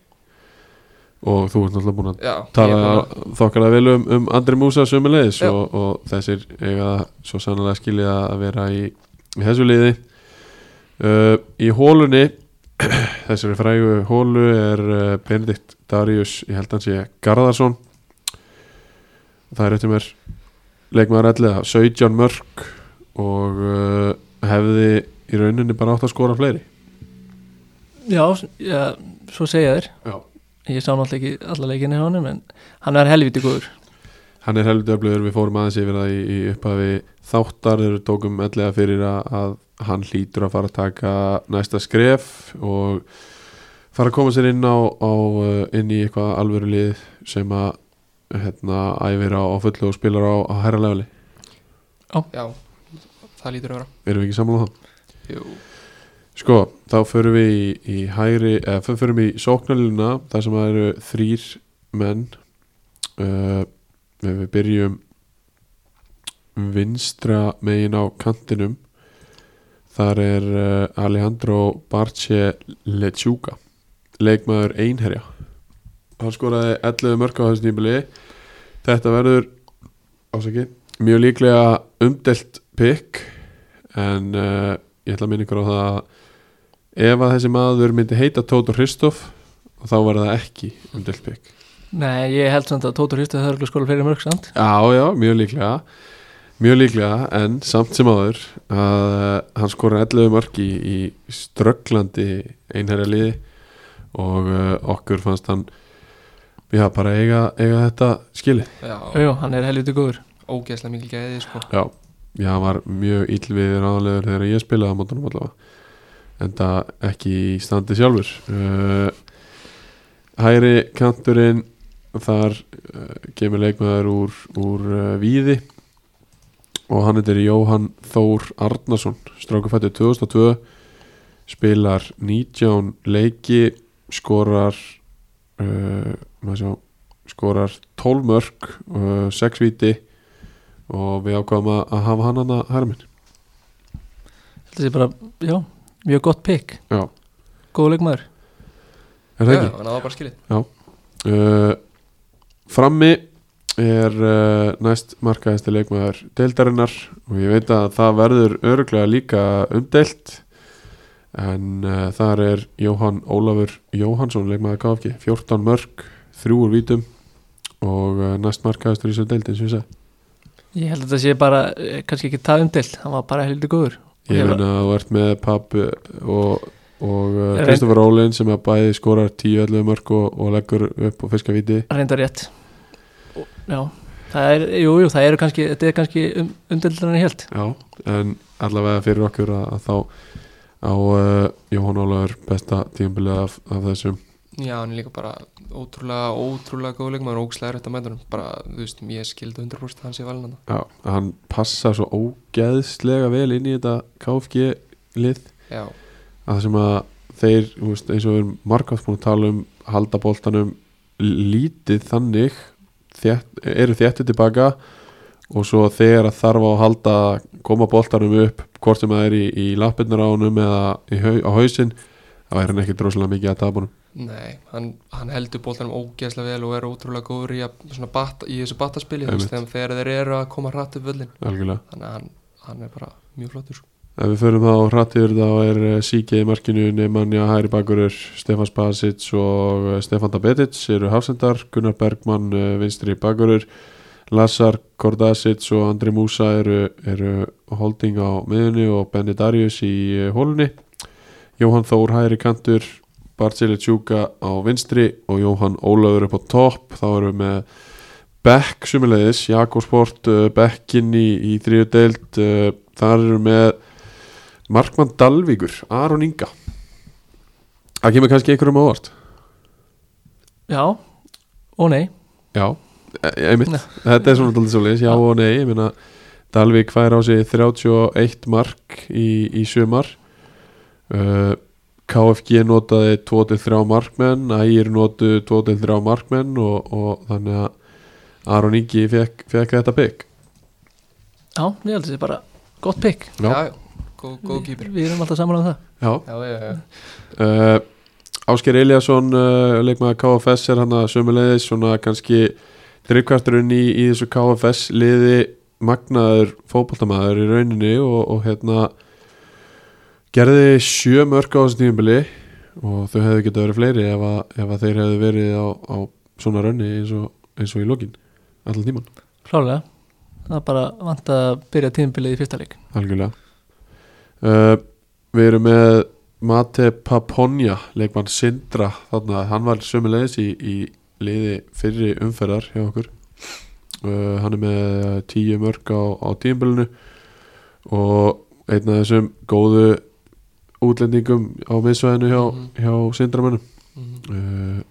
Speaker 2: og þú ert náttúrulega búin að
Speaker 3: já,
Speaker 2: tala
Speaker 3: ég bara-
Speaker 2: þokkalega vel um, um Andri Músa sömulegis
Speaker 3: Já.
Speaker 2: og, og þessir eiga það svo sannlega skilja að vera í, í þessu liði uh, í hólunni þessari frægu hólu er uh, Benedikt Darius ég held hans ég Garðarsson það er eftir mér leikmaður allega 17 mörg og uh, hefði í rauninni bara átt að skora fleiri
Speaker 4: Já, s- já svo segja þér
Speaker 2: Já.
Speaker 4: Ég sá náttúrulega ekki alla leikinni hjá honum en hann er helviti góður
Speaker 2: Hann er helviti öflugur, við fórum aðeins yfir það í, í upphafi þáttar þegar við tókum ellega fyrir að, að hann hlýtur að fara að taka næsta skref og fara að koma sér inn á, á uh, inn í eitthvað alvöru lið sem að hérna, æfir á, á fullu og spilar á, á herra leveli.
Speaker 3: já, það lítur að vera
Speaker 2: Erum við ekki sammála um það?
Speaker 3: Jú.
Speaker 2: Sko, þá förum við í, í hægri, eða förum við í sóknarlina þar sem það eru þrýr menn uh, ef við byrjum vinstra megin á kantinum þar er uh, Alejandro Barce Lechuga leikmaður einherja hann skoraði 11 mörg á þessu nýmili þetta verður ásaki, mjög líklega umdelt pick en uh, ég ætla að minna ykkur á það að ef að þessi maður myndi heita Tóta Hristoff þá verður það ekki umdelt pick
Speaker 4: Nei, ég held samt að Tóta Hristu höfðu skóla fleiri mörg samt
Speaker 2: Já, já, mjög líklega Mjög líklega, en samt sem áður að uh, hann skora 11 marki í strögglandi einherja liði og uh, okkur fannst hann já, bara eiga, eiga þetta skili
Speaker 3: Já,
Speaker 4: Jú, hann er helviti góður
Speaker 3: ógeðslega mikil gæði sko.
Speaker 2: Já, já, hann var mjög ill við ráðlegur þegar ég spilaði á mótunum allavega en það ekki í standi sjálfur uh, Hæri kanturinn þar uh, kemur leikmaður úr, úr uh, Víði og hann heitir Jóhann Þór Arnason strákufættu 2002 spilar 19 leiki skorar uh, maður sjá, skorar 12 mörg, uh, 6 víti og við ákvaðum að, að hafa hann hana herminn
Speaker 4: Þetta er bara, já, mjög gott pick
Speaker 2: Já,
Speaker 4: Góð leikmaður
Speaker 2: er það
Speaker 3: Já,
Speaker 2: ekki?
Speaker 3: hann aða bara skilið
Speaker 2: Uh, frammi er uh, næst markaðist leikmaður deildarinnar og ég veit að það verður öruglega líka umdeilt en uh, þar er Jóhann Ólafur Jóhansson leikmaður KFG 14 mörg, 3 úr vítum og uh, næst markaðistur í þessu deild eins og ég segi
Speaker 4: Ég held að þetta sé bara, eh, kannski ekki það umdelt Hann var bara helviti góður
Speaker 2: Ég
Speaker 4: Ég
Speaker 2: meina að þú ert með Pappi og, og uh,
Speaker 4: Reyn-
Speaker 2: Kristoffer Rólin sem að bæði skorar 10-11 mörg og, og leggur upp og fiskar víti
Speaker 4: reyndar rétt Og- Já, það er, jú, jú, það eru kannski þetta er kannski um, umdeldur en ég held
Speaker 2: Já, en allavega fyrir okkur að, að þá á uh, Jóhann Ólafur besta tímabilið af, af þessum
Speaker 3: Já, hann er líka bara ótrúlega, ótrúlega góð leikmaður ógeðslega rétt að mæta hann bara, þú veist, ég skildi 100% að hann sé valin hann
Speaker 2: Já, hann passar svo ógeðslega vel inn í þetta KFG lið
Speaker 3: Já,
Speaker 2: að sem að þeir, þú veist, eins og við erum margátt búin að tala um halda boltanum lítið þannig þétt, eru þéttið tilbaka og svo þegar að þarf á að halda koma boltanum upp, hvort sem það er í, í lappirnar á honum eða í, hau- á hausinn, það væri hann ekki droslega mikið að tapunum
Speaker 3: nei, hann, hann heldur bóltanum ógeðslega vel og er ótrúlega góður í, að, svona, bat, í þessu battaspili þú veist, þegar, þegar þeir eru að koma hratt upp völlin
Speaker 2: algjörlega
Speaker 3: þannig að hann, hann er bara mjög flottur sko.
Speaker 2: Ef við förum þá hratt yfir þá er Sike í markinu, Neymanja Hæri Bakurur, Stefan Spasic og eh, Stefan Dabetic eru hafsendar, Gunnar Bergmann, eh, vinstri Bakurur, Lazar Kordasic og Andri Músa eru, eru holding á miðunni og Benny Darius í eh, hólunni, Jóhann Þór Hæri Kantur, Barceli Tjúka á vinstri og Jóhann Ólafur upp á topp, þá erum við með Beck sumulegis, Jakobsport, Beckin eh, í, í þriðu deild, eh, þar eru með Markmann Dalvíkur, Aron Inga Það kemur kannski einhverjum á óvart
Speaker 4: Já, og nei
Speaker 2: Já, e- einmitt
Speaker 4: Nei.
Speaker 2: Þetta er svona daldið svolítið, já og nei Ég meina, Dalvík fær á sig 31 mark í, í sumar uh, KFG notaði 2-3 markmenn Ægir notu 2-3 markmenn og, og þannig að Aron Ingi fekk, fekk þetta bygg
Speaker 4: Já, ég held að þetta er bara gott pick
Speaker 2: Já.
Speaker 3: já, já, góð, góð
Speaker 4: Við
Speaker 3: kýpir
Speaker 4: við erum alltaf saman á það
Speaker 2: Já,
Speaker 3: Já, já, já,
Speaker 2: uh, Ásker Eliasson uh, leikmaður KFS er hann að sömulegðis svona kannski drifkvarturinn í, í þessu KFS liði magnaður fótballtamaður í rauninni og, og hérna gerði sjö mörg á þessu tímabili og þau hefðu getað verið fleiri ef að, ef að þeir hefðu verið á, á svona raunni eins og, eins og í lokin allan tíman
Speaker 4: Klálega, það er bara vant að byrja tíðinbilið í fyrsta leik
Speaker 2: Algjörlega uh, Við erum með Mate Paponja leikmann Sindra þarna, hann var sömulegis í, í liði fyrri umferðar hjá okkur uh, hann er með tíu mörg á, á tíumbölinu og einn af þessum góðu útlendingum á miðsvæðinu hjá,
Speaker 3: Mhm.
Speaker 2: hjá Sindramönnum
Speaker 3: mhm.
Speaker 2: uh,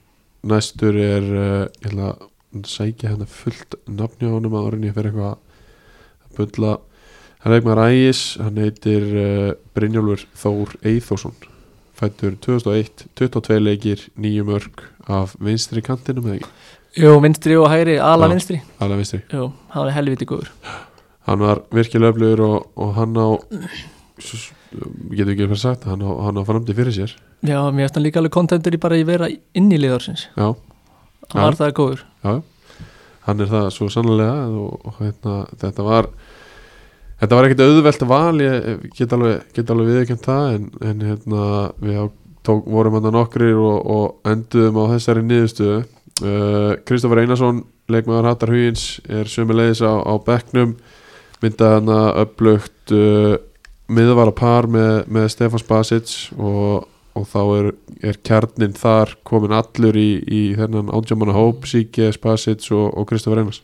Speaker 2: næstur er uh, ég ætla að sækja hérna fullt nafni á honum að orðin ég fer eitthvað að bulla hann er maður ægis, hann heitir uh, Brynjólfur Þór Eithósson fættur 2001, 22 leikir 9 mörg af vinstri kantinum eða ekki
Speaker 4: Jú, vinstri og hægri, ala
Speaker 2: Já.
Speaker 4: vinstri
Speaker 2: alveg vinstri
Speaker 4: Jú, hann er helviti góður
Speaker 2: hann var virkilega öflugur og, og hann á s- getur ekki verið sagt hann á, hann á framdi fyrir sér
Speaker 4: Já, mér finnst hann líka alveg kontentur í bara í vera inn í liðarsins
Speaker 2: já,
Speaker 4: Hann
Speaker 2: Já.
Speaker 4: var það góður
Speaker 2: já, hann er það svo sannlega og, og hérna, þetta var þetta var ekkert auðvelt val ég get alveg, get alveg viðurkjönd það en, en hérna, við á, tók, vorum hann nokkrir og, og enduðum á þessari niðurstöðu uh, Kristoffer Einarsson leikmaður Hattar Huyins er sömulegis á, á bekknum myndaði hann að upplugt uh, miðvara par með, með Stefán Spasic og, og þá er, er kjarnin þar komin allur í, í þennan átjámanna hóp, Sike, Spasic og, og Kristofur Einars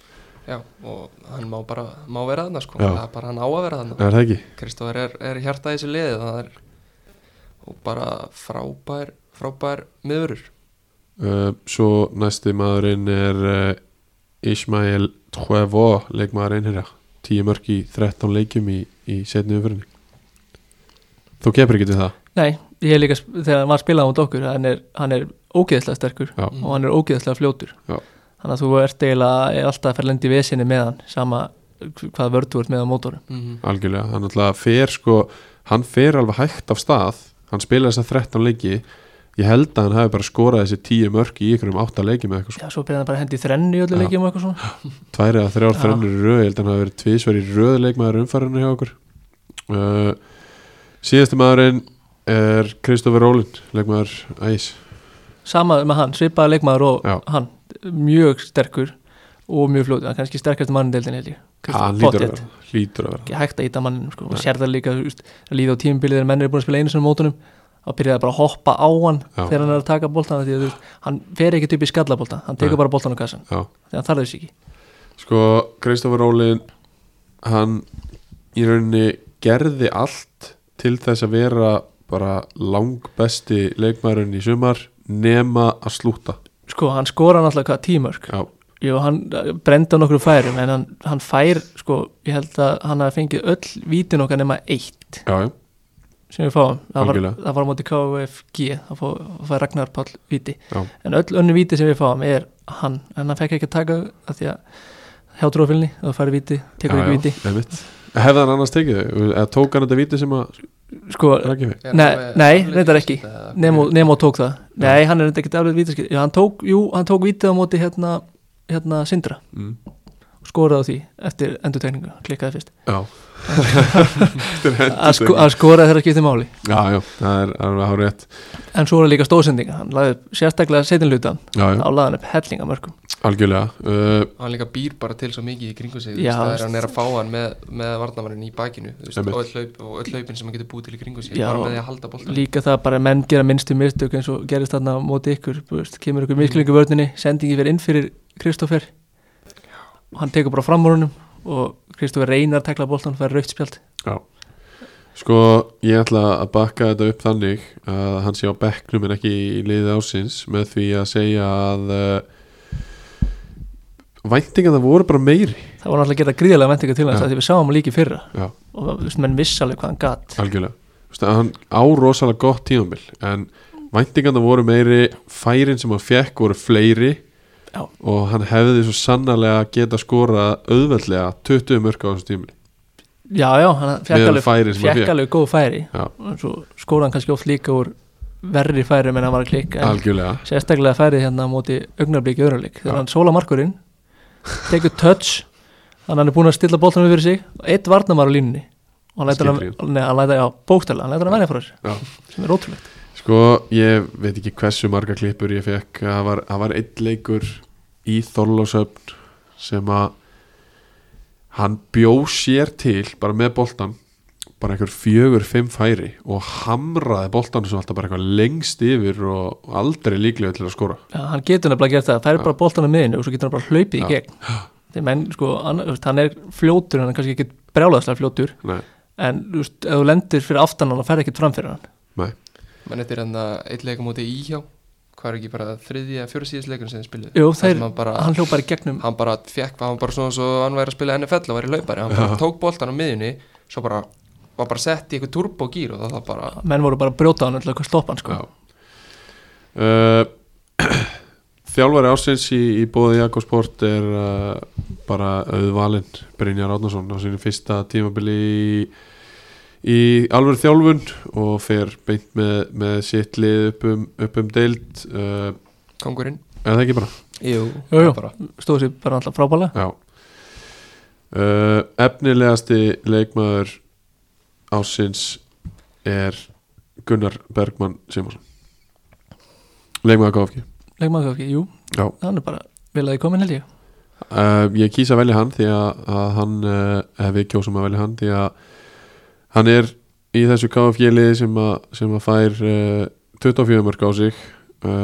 Speaker 3: Já, og hann má bara má vera þarna sko,
Speaker 2: Já.
Speaker 3: það er bara hann á að vera þarna
Speaker 2: er það ekki?
Speaker 3: Kristóður er, er hjartað í þessu liði það er og bara frábær frábær miðurur
Speaker 2: Uh, svo næsti maðurinn er uh, Ismael Tvevo leikmaður einherja, 10 mörg í 13 leikjum í, í setni umfyrinni þú kemur ekki til það
Speaker 4: Nei, ég hef líka, sp- þegar hann var spilað út okkur hann er, hann er ógeðslega sterkur
Speaker 2: Já.
Speaker 4: og hann er ógeðslega fljótur
Speaker 2: Já.
Speaker 4: Þannig að þú ert eiginlega er alltaf að fara lendi í vesinni með hann sama hvað vörð þú ert með á mótorum
Speaker 3: mm -hmm.
Speaker 2: algjörlega, hann alltaf fer sko, hann fer alveg hægt af stað hann spila þess að 13 leiki ég held að hann hafi bara skorað þessi 10 mörg í ykkur um 8 leiki með eitthvað sko.
Speaker 4: Já, svo byrjaði hann bara að hendi þrennu í öllu
Speaker 2: Já.
Speaker 4: leikjum og eitthvað svona
Speaker 2: tværi að þrjár
Speaker 4: Já.
Speaker 2: þrennur í röð, ég held að hann hafi verið tvísverð í röð leikmaður umfærinu hjá okkur uh, síðasti maðurinn er Kristoffer Rólin leikmaður æs
Speaker 4: Sama með hann, svipaði leikmaður og
Speaker 2: Já.
Speaker 4: hann mjög sterkur og mjög fljótur, hann er kannski sterkast mann deildin held ég
Speaker 2: hann
Speaker 4: Pottet.
Speaker 2: lítur að vera, lítur að vera.
Speaker 4: ekki hægt að íta manninum sko. og sér það líka þú veist, að líða á tímabilið þegar menn er búin að spila einu sinni á mótunum þá byrja það bara að hoppa á hann
Speaker 2: Já.
Speaker 4: þegar hann er að taka boltan því að þú veist, hann fer ekki upp í skallaboltan, hann tekur
Speaker 2: Nei.
Speaker 4: bara boltan á kassan
Speaker 2: Já.
Speaker 4: þegar hann þarf þess ekki
Speaker 2: sko, Kristoffer Rólin hann í rauninni gerði allt til þess að vera bara langbesti leikmaðurinn í sumar nema að slúta
Speaker 4: sko, hann skora náttúrulega hvað tímörk
Speaker 2: já,
Speaker 4: Jú, hann eh, brenndi á nokkru færum en hann, hann fær, sko, ég held að hann hafi fengið öll vítin okkar nema eitt
Speaker 2: já, já,
Speaker 4: sem við fáum, það var,
Speaker 2: Algjörlega.
Speaker 4: það var á móti KFG, það fó- það fær Ragnar Páll víti
Speaker 2: já.
Speaker 4: en öll önnu víti sem við fáum er hann en hann fekk ekki að taka að því að hjá trófélni og fari víti, tekur
Speaker 2: Já,
Speaker 4: ekki
Speaker 2: já,
Speaker 4: víti
Speaker 2: einmitt. hefði hann annars tekið þau eða tók hann þetta víti sem að
Speaker 4: sko,
Speaker 2: rækja fyrir
Speaker 4: Nei, nei, reyndar ekki. Nemo, Nemo tók það nei, hann er ekki alveg vítaskil já, hann tók, jú, hann tók vítið á móti hérna, hérna Sindra
Speaker 2: mm.
Speaker 4: og skoraði á því eftir endurtegningu klikkaði fyrst
Speaker 2: já
Speaker 4: að, sko, að skoraði þeirra skipti máli
Speaker 2: já, já, það er alveg hár rétt
Speaker 4: en svo er líka stóðsendinga, hann lagði upp sérstaklega setinluta,
Speaker 2: já, já,
Speaker 4: þá lagði hann upp hellingamörkum
Speaker 2: algjörlega uh,
Speaker 3: hann líka býr bara til svo mikið í kringu sig þú
Speaker 4: Já,
Speaker 3: veist, það er
Speaker 4: veist.
Speaker 3: hann er að fá hann með, með varnamannin í bakinu þú veist,
Speaker 2: Einmitt.
Speaker 3: og, öll laup, og öll laupin sem hann getur búið til í kringu sig
Speaker 4: Já.
Speaker 3: bara með því að halda boltan
Speaker 4: líka það bara að menn gera minnstu mistök eins og gerist þarna á móti ykkur þú veist, kemur ykkur misklingu vörninni, sendingi fyrir inn fyrir Kristófer og hann tekur bara fram úr honum og Kristófer reynar að tekla boltan og fær raukt spjald
Speaker 2: sko, ég ætla að bakka þetta upp þannig að hann sé á bekknum en ekki í liði ásins með því að segja að uh, væntingar það voru bara meiri
Speaker 4: það var náttúrulega að gera gríðarlega vendinga til hans
Speaker 2: Já.
Speaker 4: af því við sáum hann líki fyrra
Speaker 2: já,
Speaker 4: og þú veist, menn viss alveg hvað hann gat
Speaker 2: algjörlega Þú veist, að hann á rosalega gott tímambil en væntingarna voru meiri færin sem hann fekk voru fleiri
Speaker 4: Já.
Speaker 2: og hann hefði svo sannarlega geta skorað auðveldlega 20 mörg á þessu tímili
Speaker 4: já, já, hann fekk
Speaker 2: Meðal
Speaker 4: alveg,
Speaker 2: færin sem hann
Speaker 4: fekk
Speaker 2: fékk.
Speaker 4: alveg góð færi
Speaker 2: Já.
Speaker 4: og svo skóra hann kannski oft líka úr verri færi menn hann var að klikka en
Speaker 2: algjörlega
Speaker 4: sérstaklega færið hérna á móti augnablik í öðruleik
Speaker 2: Já.
Speaker 4: þegar hann sóla markurinn tekur touch þannig að hann er búin að stilla boltanum fyrir sig og eitt varnamar á línunni og hann lætur hann,
Speaker 2: Skilur
Speaker 4: nei, hann lætur, já, bókstælega, hann lætur hann verja frá sér
Speaker 2: Já.
Speaker 4: sem er ótrúlegt
Speaker 2: Sko, ég veit ekki hversu marga klippur ég fekk það var, það var einn leikur í Þorlásöfn sem að hann bjó sér til bara með boltan bara einhver fjögur, fimm færi og hamraði boltan sem alltaf bara eitthvað lengst yfir og aldrei líklega til að skora
Speaker 4: já, hann getur nefnilega gert það, færi bara boltanum miðinu og svo getur hann bara hlaupið í
Speaker 2: Já.
Speaker 4: gegn þegar menn, sko, hann, þú veist, hann er fljótur hann er kannski ekki brjálaðslega fljótur
Speaker 2: Nei,
Speaker 4: en þú veist, ef þú lendir fyrir aftan hann og færi ekkert fram fyrir hann
Speaker 2: nei,
Speaker 3: menn þetta er hann að eitt leika móti í hjá hvað er ekki bara þriðja, fjórsíðis leikun sem þið spiluðu
Speaker 4: Jú,
Speaker 3: Þar sem
Speaker 4: þeir,
Speaker 3: hann bara,
Speaker 4: hann hljópar í gegnum
Speaker 3: hann bara fekk, hann var bara svona svo hann væri að spila NFL og væri laupari, hann bara tók boltan á miðjunni svo bara, var bara sett í eitthvað turbogýr og það var bara
Speaker 4: menn voru bara að brjóta hann alltaf að stoppa hann, sko
Speaker 2: já uh, Eh, Þjálfari ásins í, í bóði Jakobsport er uh, bara auðvalinn Brynjar Átnarsson á sínu fyrsta tímabili í, í alveg þjálfun og fer beint með, með sitt lið upp um, upp um deild uh,
Speaker 3: kongurinn
Speaker 2: eða það ekki bara
Speaker 3: Jú,
Speaker 4: Jú, jú.
Speaker 3: bara
Speaker 4: stóð sér bara alltaf frábælega
Speaker 2: Já uh, Efnilegasti leikmaður ásins er Gunnar Bergmann Simonsson Leikmaður KFG
Speaker 4: leikmaður ekki, jú,
Speaker 2: Já.
Speaker 4: hann er bara vel að ég komin held ég
Speaker 2: uh, Ég kýsa að velja hann því að, að hann uh, ef við kjósum að velja hann því að hann er í þessu KFG liði sem að, sem að fær uh, 24 mörg á sig uh,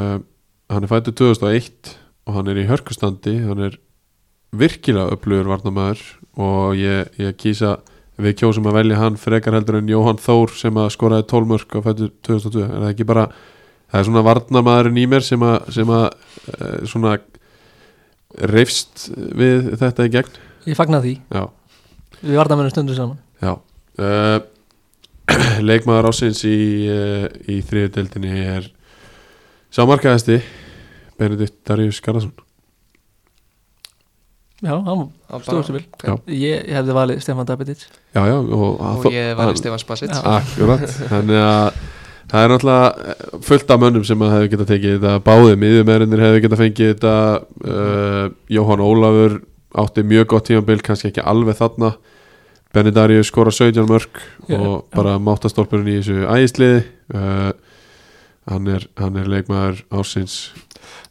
Speaker 2: hann er fættur 2001 og hann er í hörkustandi hann er virkilega upplugur varnamæður og ég, ég kýsa við kjósum að velja hann frekar heldur en Jóhann Þór sem að skoraði 12 mörg á fættur 2002 er það ekki bara það er svona varnamæðurinn í mér sem að, sem að uh, svona reyfst við þetta í gegn
Speaker 4: ég fagna því,
Speaker 2: já,
Speaker 4: við varðamennum stundur saman
Speaker 2: já. Uh, leikmaður ásins í, uh, í þriðudeldinni er sámarkaðasti Benedikt Darius Garðarsson
Speaker 4: já, hann
Speaker 3: hann bara-
Speaker 4: stóð sér vel
Speaker 2: Já.
Speaker 4: ég, ég hefði valið Stefán Dabidic
Speaker 2: já, já, og,
Speaker 3: og ég var í Stefán Spasic
Speaker 4: Já.
Speaker 2: akkurat þannig að það er náttúrulega eh, fullt af mönnum sem að hefur getað tekið þetta báði miðjumerinir hefur getað fengið þetta uh, Jóhann Ólafur átti mjög gott tímabil, kannski ekki alveg þarna Benedikt Darius skora 17 mörg
Speaker 4: Já,
Speaker 2: og bara máttastólpurinn í þessu ægisliði uh, hann, er, hann er leikmaður ásins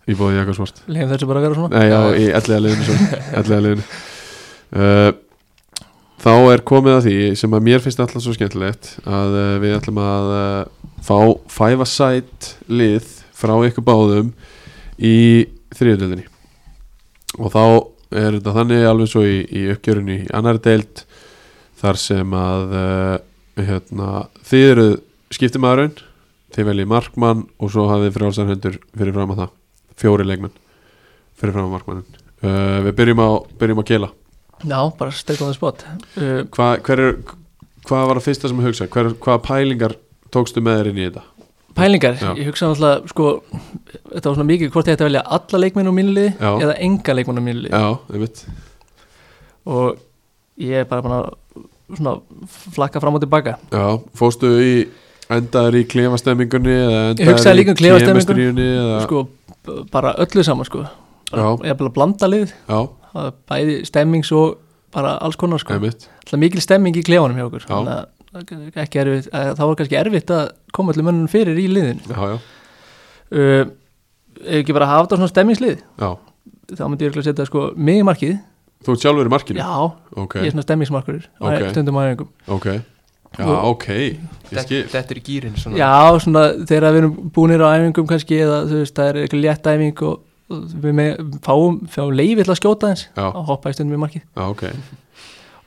Speaker 2: í bóði Jakobsvart
Speaker 4: leiðum þessu bara að vera svona
Speaker 2: Nei, já,
Speaker 3: Já, já.
Speaker 2: í ellega liðinu, ellega liðinu. Uh, Þá er komið að því sem að mér finnst alltaf svo skemmtilegt að uh, við ætlum að uh, fá five-a-side lið frá ykkur báðum í þriðudeldinni og þá er þetta þannig alveg svo í, í uppgjörinu í annar deild þar sem að uh, hérna, þið eru skiptimaðurinn þið veljið markmann og svo hafið frjálsar hendur fyrir fram að það fjóri leikmenn fyrir fram að markmannin uh, við byrjum á, byrjum á kela
Speaker 4: já, bara straight on the spot uh,
Speaker 2: Hva, hver er, hvað var það fyrsta sem ég hugsa hver, hvaða pælingar tókstu með þér inn í þetta
Speaker 4: pælingar,
Speaker 2: Já.
Speaker 4: ég hugsa alltaf sko, þetta var svona mikið hvort ég ætti að velja alla leikmenn á mínu liði
Speaker 2: Já.
Speaker 4: eða enga leikmenn á mínu liði
Speaker 2: já, einmitt
Speaker 4: og ég er bara búin að svona flakka fram og tilbaka
Speaker 2: já, fóstu í endaður í klefastemmingunni eða
Speaker 4: Ég hugsaði
Speaker 2: endaður
Speaker 4: líka um klefastemmingu.
Speaker 2: kemistríunni eða,
Speaker 4: sko, b- bara öllu saman sko. bara,
Speaker 2: Já.
Speaker 4: ég er bara að blanda lið
Speaker 2: já,
Speaker 4: það er bæði stemmings og bara alls konar sko.
Speaker 2: einmitt
Speaker 4: alltaf mikil stemming í klefanum hjá okkur
Speaker 2: Já.
Speaker 4: þannig að það er ekki erfitt, að það var kannski erfitt að koma allir mönnum fyrir í liðinu
Speaker 2: já, já,
Speaker 4: uh, ef ekki bara hafa þetta svona stemmingslið
Speaker 2: já,
Speaker 4: þá myndi ég örugglega setja sko mig í markið
Speaker 2: þú ert sjálfur í markinu
Speaker 4: já,
Speaker 2: ok,
Speaker 4: ég er svona stemmingsmarkurur
Speaker 2: Ok.
Speaker 4: stundum aðeingum
Speaker 2: ok já,
Speaker 4: Og-
Speaker 2: ok, ég skil
Speaker 3: þetta er í gýrin svona
Speaker 4: já, svona þegar við erum búinir á æfingum kannski eða þú veist, það er eitthvað létt æfing og, og við með, fáum, fáum leifi til að skjóta eins
Speaker 2: Já.
Speaker 4: og hoppa í stundum í markið
Speaker 2: já, ok,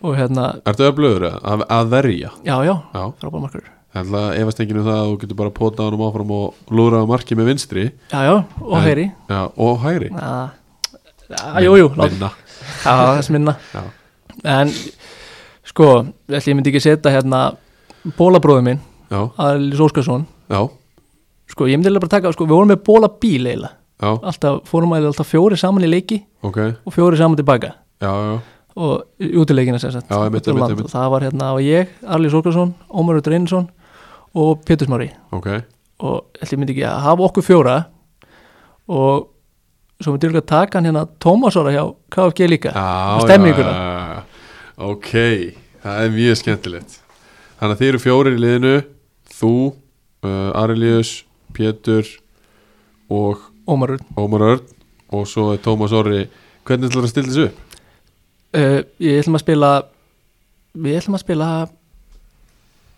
Speaker 4: og hérna,
Speaker 2: ertu öflöður eða? að, að verja
Speaker 4: já, já,
Speaker 2: já,
Speaker 4: frábær markurur
Speaker 2: þannig að efast enginn um það að þú getur bara potað honum áfram og lúraða markið með vinstri
Speaker 4: já, já, og
Speaker 2: En-
Speaker 4: heyri
Speaker 2: já, og hægri
Speaker 4: Já, Já, Ah, jú, jú, látum
Speaker 2: Minna.
Speaker 4: Já, þess minna
Speaker 2: Já.
Speaker 4: En sko, ætli ég myndi ekki setja hérna Bólabróður minn,
Speaker 2: já,
Speaker 4: Aðlis Óskarsson
Speaker 2: já,
Speaker 4: Sko, ég myndi eiginlega bara taka, sko, við vorum með bólabíl eiginlega
Speaker 2: já,
Speaker 4: Alltaf, fórum að alltaf fjóri saman í leiki
Speaker 2: ok já,
Speaker 4: Og fjóri saman tilbaka
Speaker 2: já,
Speaker 4: Og í- út í leikina sem sagt
Speaker 2: Já, einmitt,
Speaker 4: út
Speaker 2: einmitt,
Speaker 4: um land.
Speaker 2: einmitt.
Speaker 4: Og það var hérna, og ég, Aðlis Óskarsson Ómar Rútt Reynsson og Pétur Smári
Speaker 2: ok
Speaker 4: Og ætli ég myndi ekki að hafa okkur fjóra Og svo myndi ég örugglega taka hann hérna Tómas Óra hjá KFG líka
Speaker 2: já,
Speaker 4: stemminguna.
Speaker 2: já, já, já. ok, það er mjög skemmtilegt þannig að þið eru fjórir í liðinu þú, uh, Arilius Pétur og
Speaker 4: Ómar Rútt
Speaker 2: Ómar Örn og svo er Tómas Orri hvernig ætlar að stilla þessu upp?
Speaker 4: Uh, ég ætlum að spila Við ætlum að spila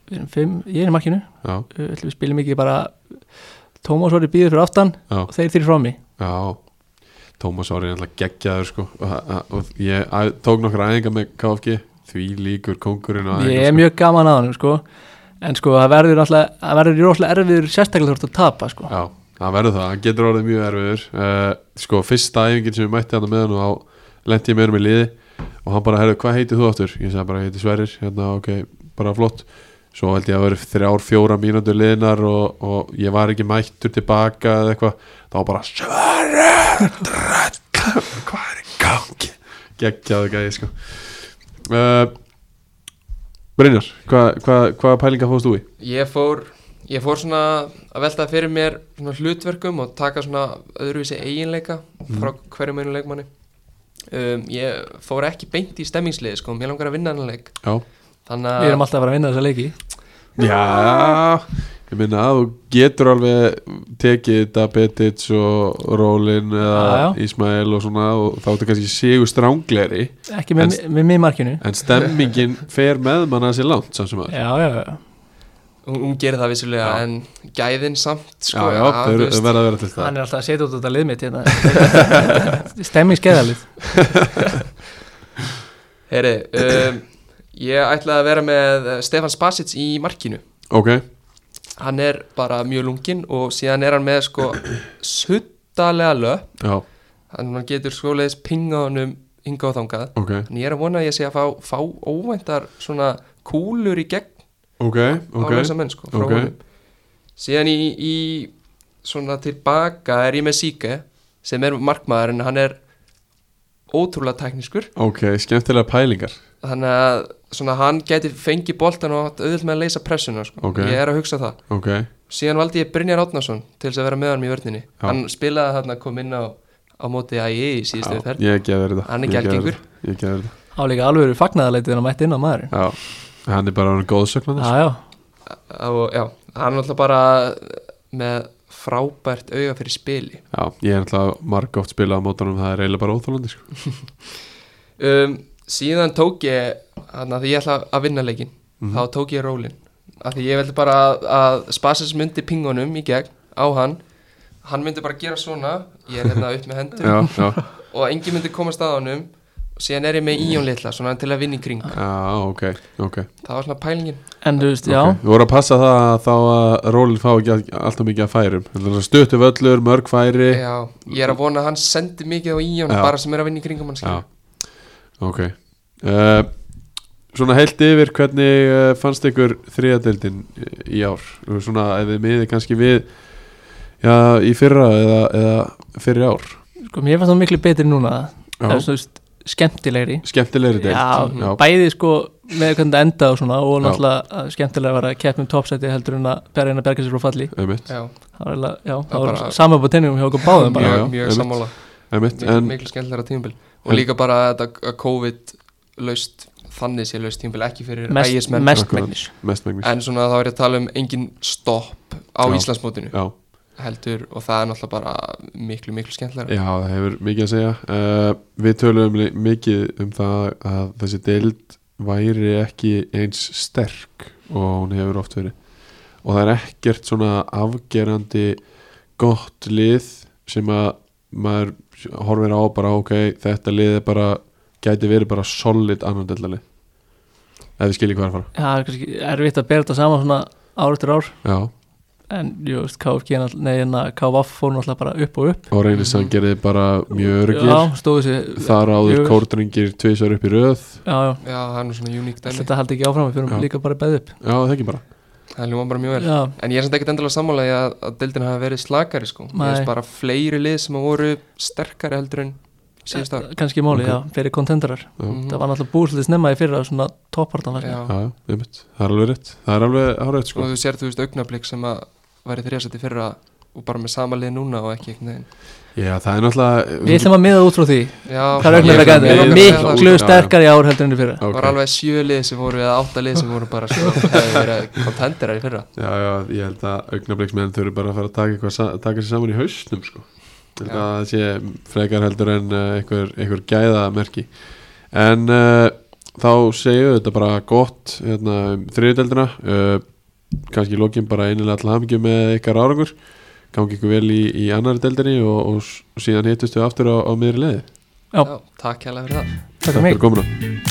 Speaker 4: Við erum fimm, ég er í markinu uh,
Speaker 2: já,
Speaker 4: ætlum Við spilum ekki bara Tómas Orri býður fyrir aftan
Speaker 2: já,
Speaker 4: og þeir þýr frá mig
Speaker 2: já Tómas Orri er alltaf geggjaður sko og, og- og ég að, tók nokkra æðinga með KFG því líkur kongurinn og
Speaker 4: Ég er mjög gaman að honum sko En sko það verður alltaf Það verður rosalega erfiður sérstaklega þú ert að tapa sko
Speaker 2: Já, það verður það, hann getur orðið mjög erfiður uh, Sko, fyrsta æfingin sem ég mætti hann með hann og þá lendi ég með hann í liði og hann bara, herru, hvað heitir þú áttur? Ég sagði bara, ég heiti Sverrir, hérna, ok, bara flott svo held ég að vera þrjár, fjóra mínútur liðnar og, og ég var ekki mættur tilbaka eða eitthvað, þá bara Sverre Dröll hvað er í gangi geggjaðu gæði sko uh, Brynjar hvað hva, hva pælinga fóðst þú í?
Speaker 3: Ég fór, ég fór svona að velta fyrir mér svona hlutverkum og taka svona öðruvísi eiginleika
Speaker 2: Mhm.
Speaker 3: frá hverjum einu leikmanni. Um, ég fór ekki beint í stemmingsliði sko, mér langar að vinna hennar leik.
Speaker 2: Já,
Speaker 3: Þannig
Speaker 4: Við erum
Speaker 3: að,
Speaker 4: alltaf að fara að vinna þessa leiki
Speaker 2: Já ég minna að þú getur alveg tekið Dabetic og Rólin eða
Speaker 4: Já, já.
Speaker 2: Ismael og svona og þá ertu kannski sigur strángleri
Speaker 4: Ekki með, með mig í markinu
Speaker 2: en stemmingin fer með manna sér langt samt sem að
Speaker 4: Já, já, já
Speaker 3: hún, hún gerir það vissulega,
Speaker 2: Já.
Speaker 3: en gæðin samt sko.
Speaker 2: Já, já,
Speaker 3: að,
Speaker 2: þau
Speaker 3: þú
Speaker 2: eru-
Speaker 3: veist,
Speaker 2: þau verða að vera til það
Speaker 4: Hann er alltaf að setja út þetta liðmitt hérna Stemmingskeðalið
Speaker 3: Heyri, um, ég ætlaði að vera með eh, Stefan Spasic í markinu.
Speaker 2: Ok,
Speaker 3: Hann er bara mjög lunginn og síðan er hann með sko suttalega löp
Speaker 2: já,
Speaker 3: þannig að hann getur skóleis pinga honum hinga og þangað
Speaker 2: ok
Speaker 3: en ég er að vona að ég sé að fá, fá óvæntar svona kúlur í gegn
Speaker 2: Ok,
Speaker 3: á
Speaker 2: ok
Speaker 3: þessa menn sko frá
Speaker 2: ok.
Speaker 3: honum síðan í, í svona tilbaka er ég með Sike sem er markmaður en hann er ótrúlega teknískur
Speaker 2: Ok, skemmtilega pælingar
Speaker 3: þannig að svona hann getur fengið boltan og átt auðvitað með að leysa pressuna sko.
Speaker 2: Ok.
Speaker 3: ég er að hugsa það
Speaker 2: Ok,
Speaker 3: síðan valdi ég Brynjar Átnason til þess að vera með hann í vörninni
Speaker 2: Já.
Speaker 3: hann spilaði þarna kom inn á, á móti ægi í
Speaker 2: já,
Speaker 3: síðustu ferð
Speaker 2: ég geði þetta
Speaker 3: Hann er
Speaker 2: Ég gef þér
Speaker 3: gjaldgengur.
Speaker 2: þetta, Ég geði þetta
Speaker 4: Á líka alveg eru fagnaðarleitið en að mætti inn á maðurinn
Speaker 2: Já, hann er bara hann góðsögnan
Speaker 4: Já, já
Speaker 3: og já, hann er alltaf bara með frábært auga fyrir spili
Speaker 2: Já, ég er alltaf marg oft spilað á mótanum það er eiginlega bara óþálandi sko.
Speaker 3: um, síðan tók ég hann að því ég ætla að vinna leikin
Speaker 2: Mhm.
Speaker 3: þá tók ég rólin af því ég veldi bara að, að Spassis myndi pingunum í gegn á hann hann myndi bara gera svona ég er hérna upp með hendur
Speaker 2: Já, já,
Speaker 3: og engin myndi komast að honum og síðan er ég með íjón litla svona til að vinna í kring
Speaker 2: já, ok, ok
Speaker 3: það var svona pælingin
Speaker 4: En þú veist,
Speaker 2: Ok,
Speaker 4: já
Speaker 2: Við vorum að passa það að þá að rólinn fá ekki all- alltaf mikið að færum Þetta er Stuttu völlur, mörg færi
Speaker 3: já, ég er að vona að hann sendi mikið á íjón
Speaker 2: Eh. Já.
Speaker 3: bara sem er að vinna í kringum hann
Speaker 2: Já,
Speaker 3: skilur.
Speaker 2: ok uh, Svona heilt yfir, hvernig uh, fannst ykkur þriðadeldin í ár? Svona ef þið miðið kannski við Já, í fyrra eða, eða fyrir ár
Speaker 4: Sko, mér fannst það miklu betri núna Það er
Speaker 2: Já,
Speaker 4: svona, þú veist, skemmtilegri
Speaker 2: skemmtilegri deild
Speaker 4: Já,
Speaker 2: já,
Speaker 4: bæði sko með hvernig það enda og svona og
Speaker 2: Já.
Speaker 4: náttúrulega að skemmtilega var að keppa um topsæti heldur en að berja inn að berga sér frá falli
Speaker 2: einmitt,
Speaker 3: Já,
Speaker 4: það var, eiginlega- já,
Speaker 3: Já,
Speaker 4: það var
Speaker 3: bara-
Speaker 4: sama upp á tenningum hjá okkur báðum bara.
Speaker 2: Já,
Speaker 3: mjög,
Speaker 2: já,
Speaker 3: mjög
Speaker 2: einmitt.
Speaker 3: sammála
Speaker 2: einmitt.
Speaker 3: miklu,
Speaker 2: En,
Speaker 3: miklu skemmtilegra tímabil og
Speaker 2: En-
Speaker 3: líka bara að þetta COVID laust, þannig sé laust tímabil ekki fyrir
Speaker 4: mest,
Speaker 3: ægismenn
Speaker 4: mest
Speaker 2: Akkurat.
Speaker 4: megnis
Speaker 2: mestmengnis
Speaker 3: en svona þá er ég að tala um engin stopp á
Speaker 2: Já.
Speaker 3: Íslandsmótinu
Speaker 2: Já,
Speaker 3: heldur og það er náttúrulega bara miklu miklu skemmtilegra
Speaker 2: Já, það hefur mikið að segja uh, Við töluðum li- mikið um það að þessi deild væri ekki eins sterk og hún hefur oft verið og það er ekkert svona afgerandi gott lið sem að maður horfir á bara ok, þetta lið er bara gæti verið bara solid annan deildalið ef við skiljið hvað er að fara
Speaker 4: það er kannski erfitt að bera þetta saman svona ár eftir ár
Speaker 2: Já,
Speaker 4: en jú veist, KFG er náttúrulega- nei, en að KVF fór náttúrulega bara upp og upp
Speaker 2: og reynir sem gerði bara mjög
Speaker 4: já,
Speaker 2: öryggir
Speaker 4: stóðu sér
Speaker 2: þar áður
Speaker 4: Mjög-
Speaker 2: kórdringir tvisar upp í röð
Speaker 4: já, já,
Speaker 3: Já, það er nú svona uník dæmi
Speaker 4: þetta haldi ekki áfram við fyrir
Speaker 2: Já.
Speaker 4: líka bara beð upp
Speaker 2: Já, það ekki bara
Speaker 3: það ljúma bara mjög vel
Speaker 4: já,
Speaker 3: en ég er samt ekkert endilega sammála í að, að deildin hafa verið slakari sko ég
Speaker 4: Nei.
Speaker 3: veist bara fleiri lið sem voru sterkari heldur en síðust ár
Speaker 4: kannski máli,
Speaker 2: Ok.
Speaker 4: já, fyrir kontendarar
Speaker 2: Já.
Speaker 3: Mhm.
Speaker 4: það var náttúrulega búslið snemma í fyrra svona toppartan
Speaker 3: Já.
Speaker 2: Já, já, einmitt, það er alveg rétt Það er alveg árætt sko
Speaker 3: og þú sér þú veist augnablík sem að væri þriðasætti fyrra og bara með sama lið núna og ekki einhvern veginn
Speaker 2: Já, það er náttúrulega
Speaker 4: við ætlum að miða út frá því
Speaker 3: Já,
Speaker 4: Það er
Speaker 2: Ég-
Speaker 4: augnablik
Speaker 2: ég-
Speaker 4: að þetta
Speaker 2: ég-
Speaker 4: er
Speaker 2: ég-
Speaker 4: miklu
Speaker 2: ég-
Speaker 4: sterkar í ár heldur enn í fyrra
Speaker 3: Það
Speaker 2: Ok.
Speaker 3: var alveg sjö lið sem voru eða átta lið sem voru bara sko, hefði verið kontenderar í fyrra
Speaker 2: Já, já, ég held að augnabliksmenn þurfi bara að fara að taka, eitthvað, sa- taka sér saman í hausnum sko Ég held
Speaker 3: Já.
Speaker 2: að það sé frekar heldur en uh, einhver, einhver gæðamerki En uh, þá segju þetta bara gott hérna, um þriðudeldina uh, kannski í lokin bara einilega til hamingju með ykkar árangur gangi ykkur vel í, í annari deldinni og, og s- síðan hittust við aftur á, á miðri leiði
Speaker 4: Já.
Speaker 3: Já, takk hérlega fyrir það
Speaker 4: Takk fyrir mig
Speaker 2: komuna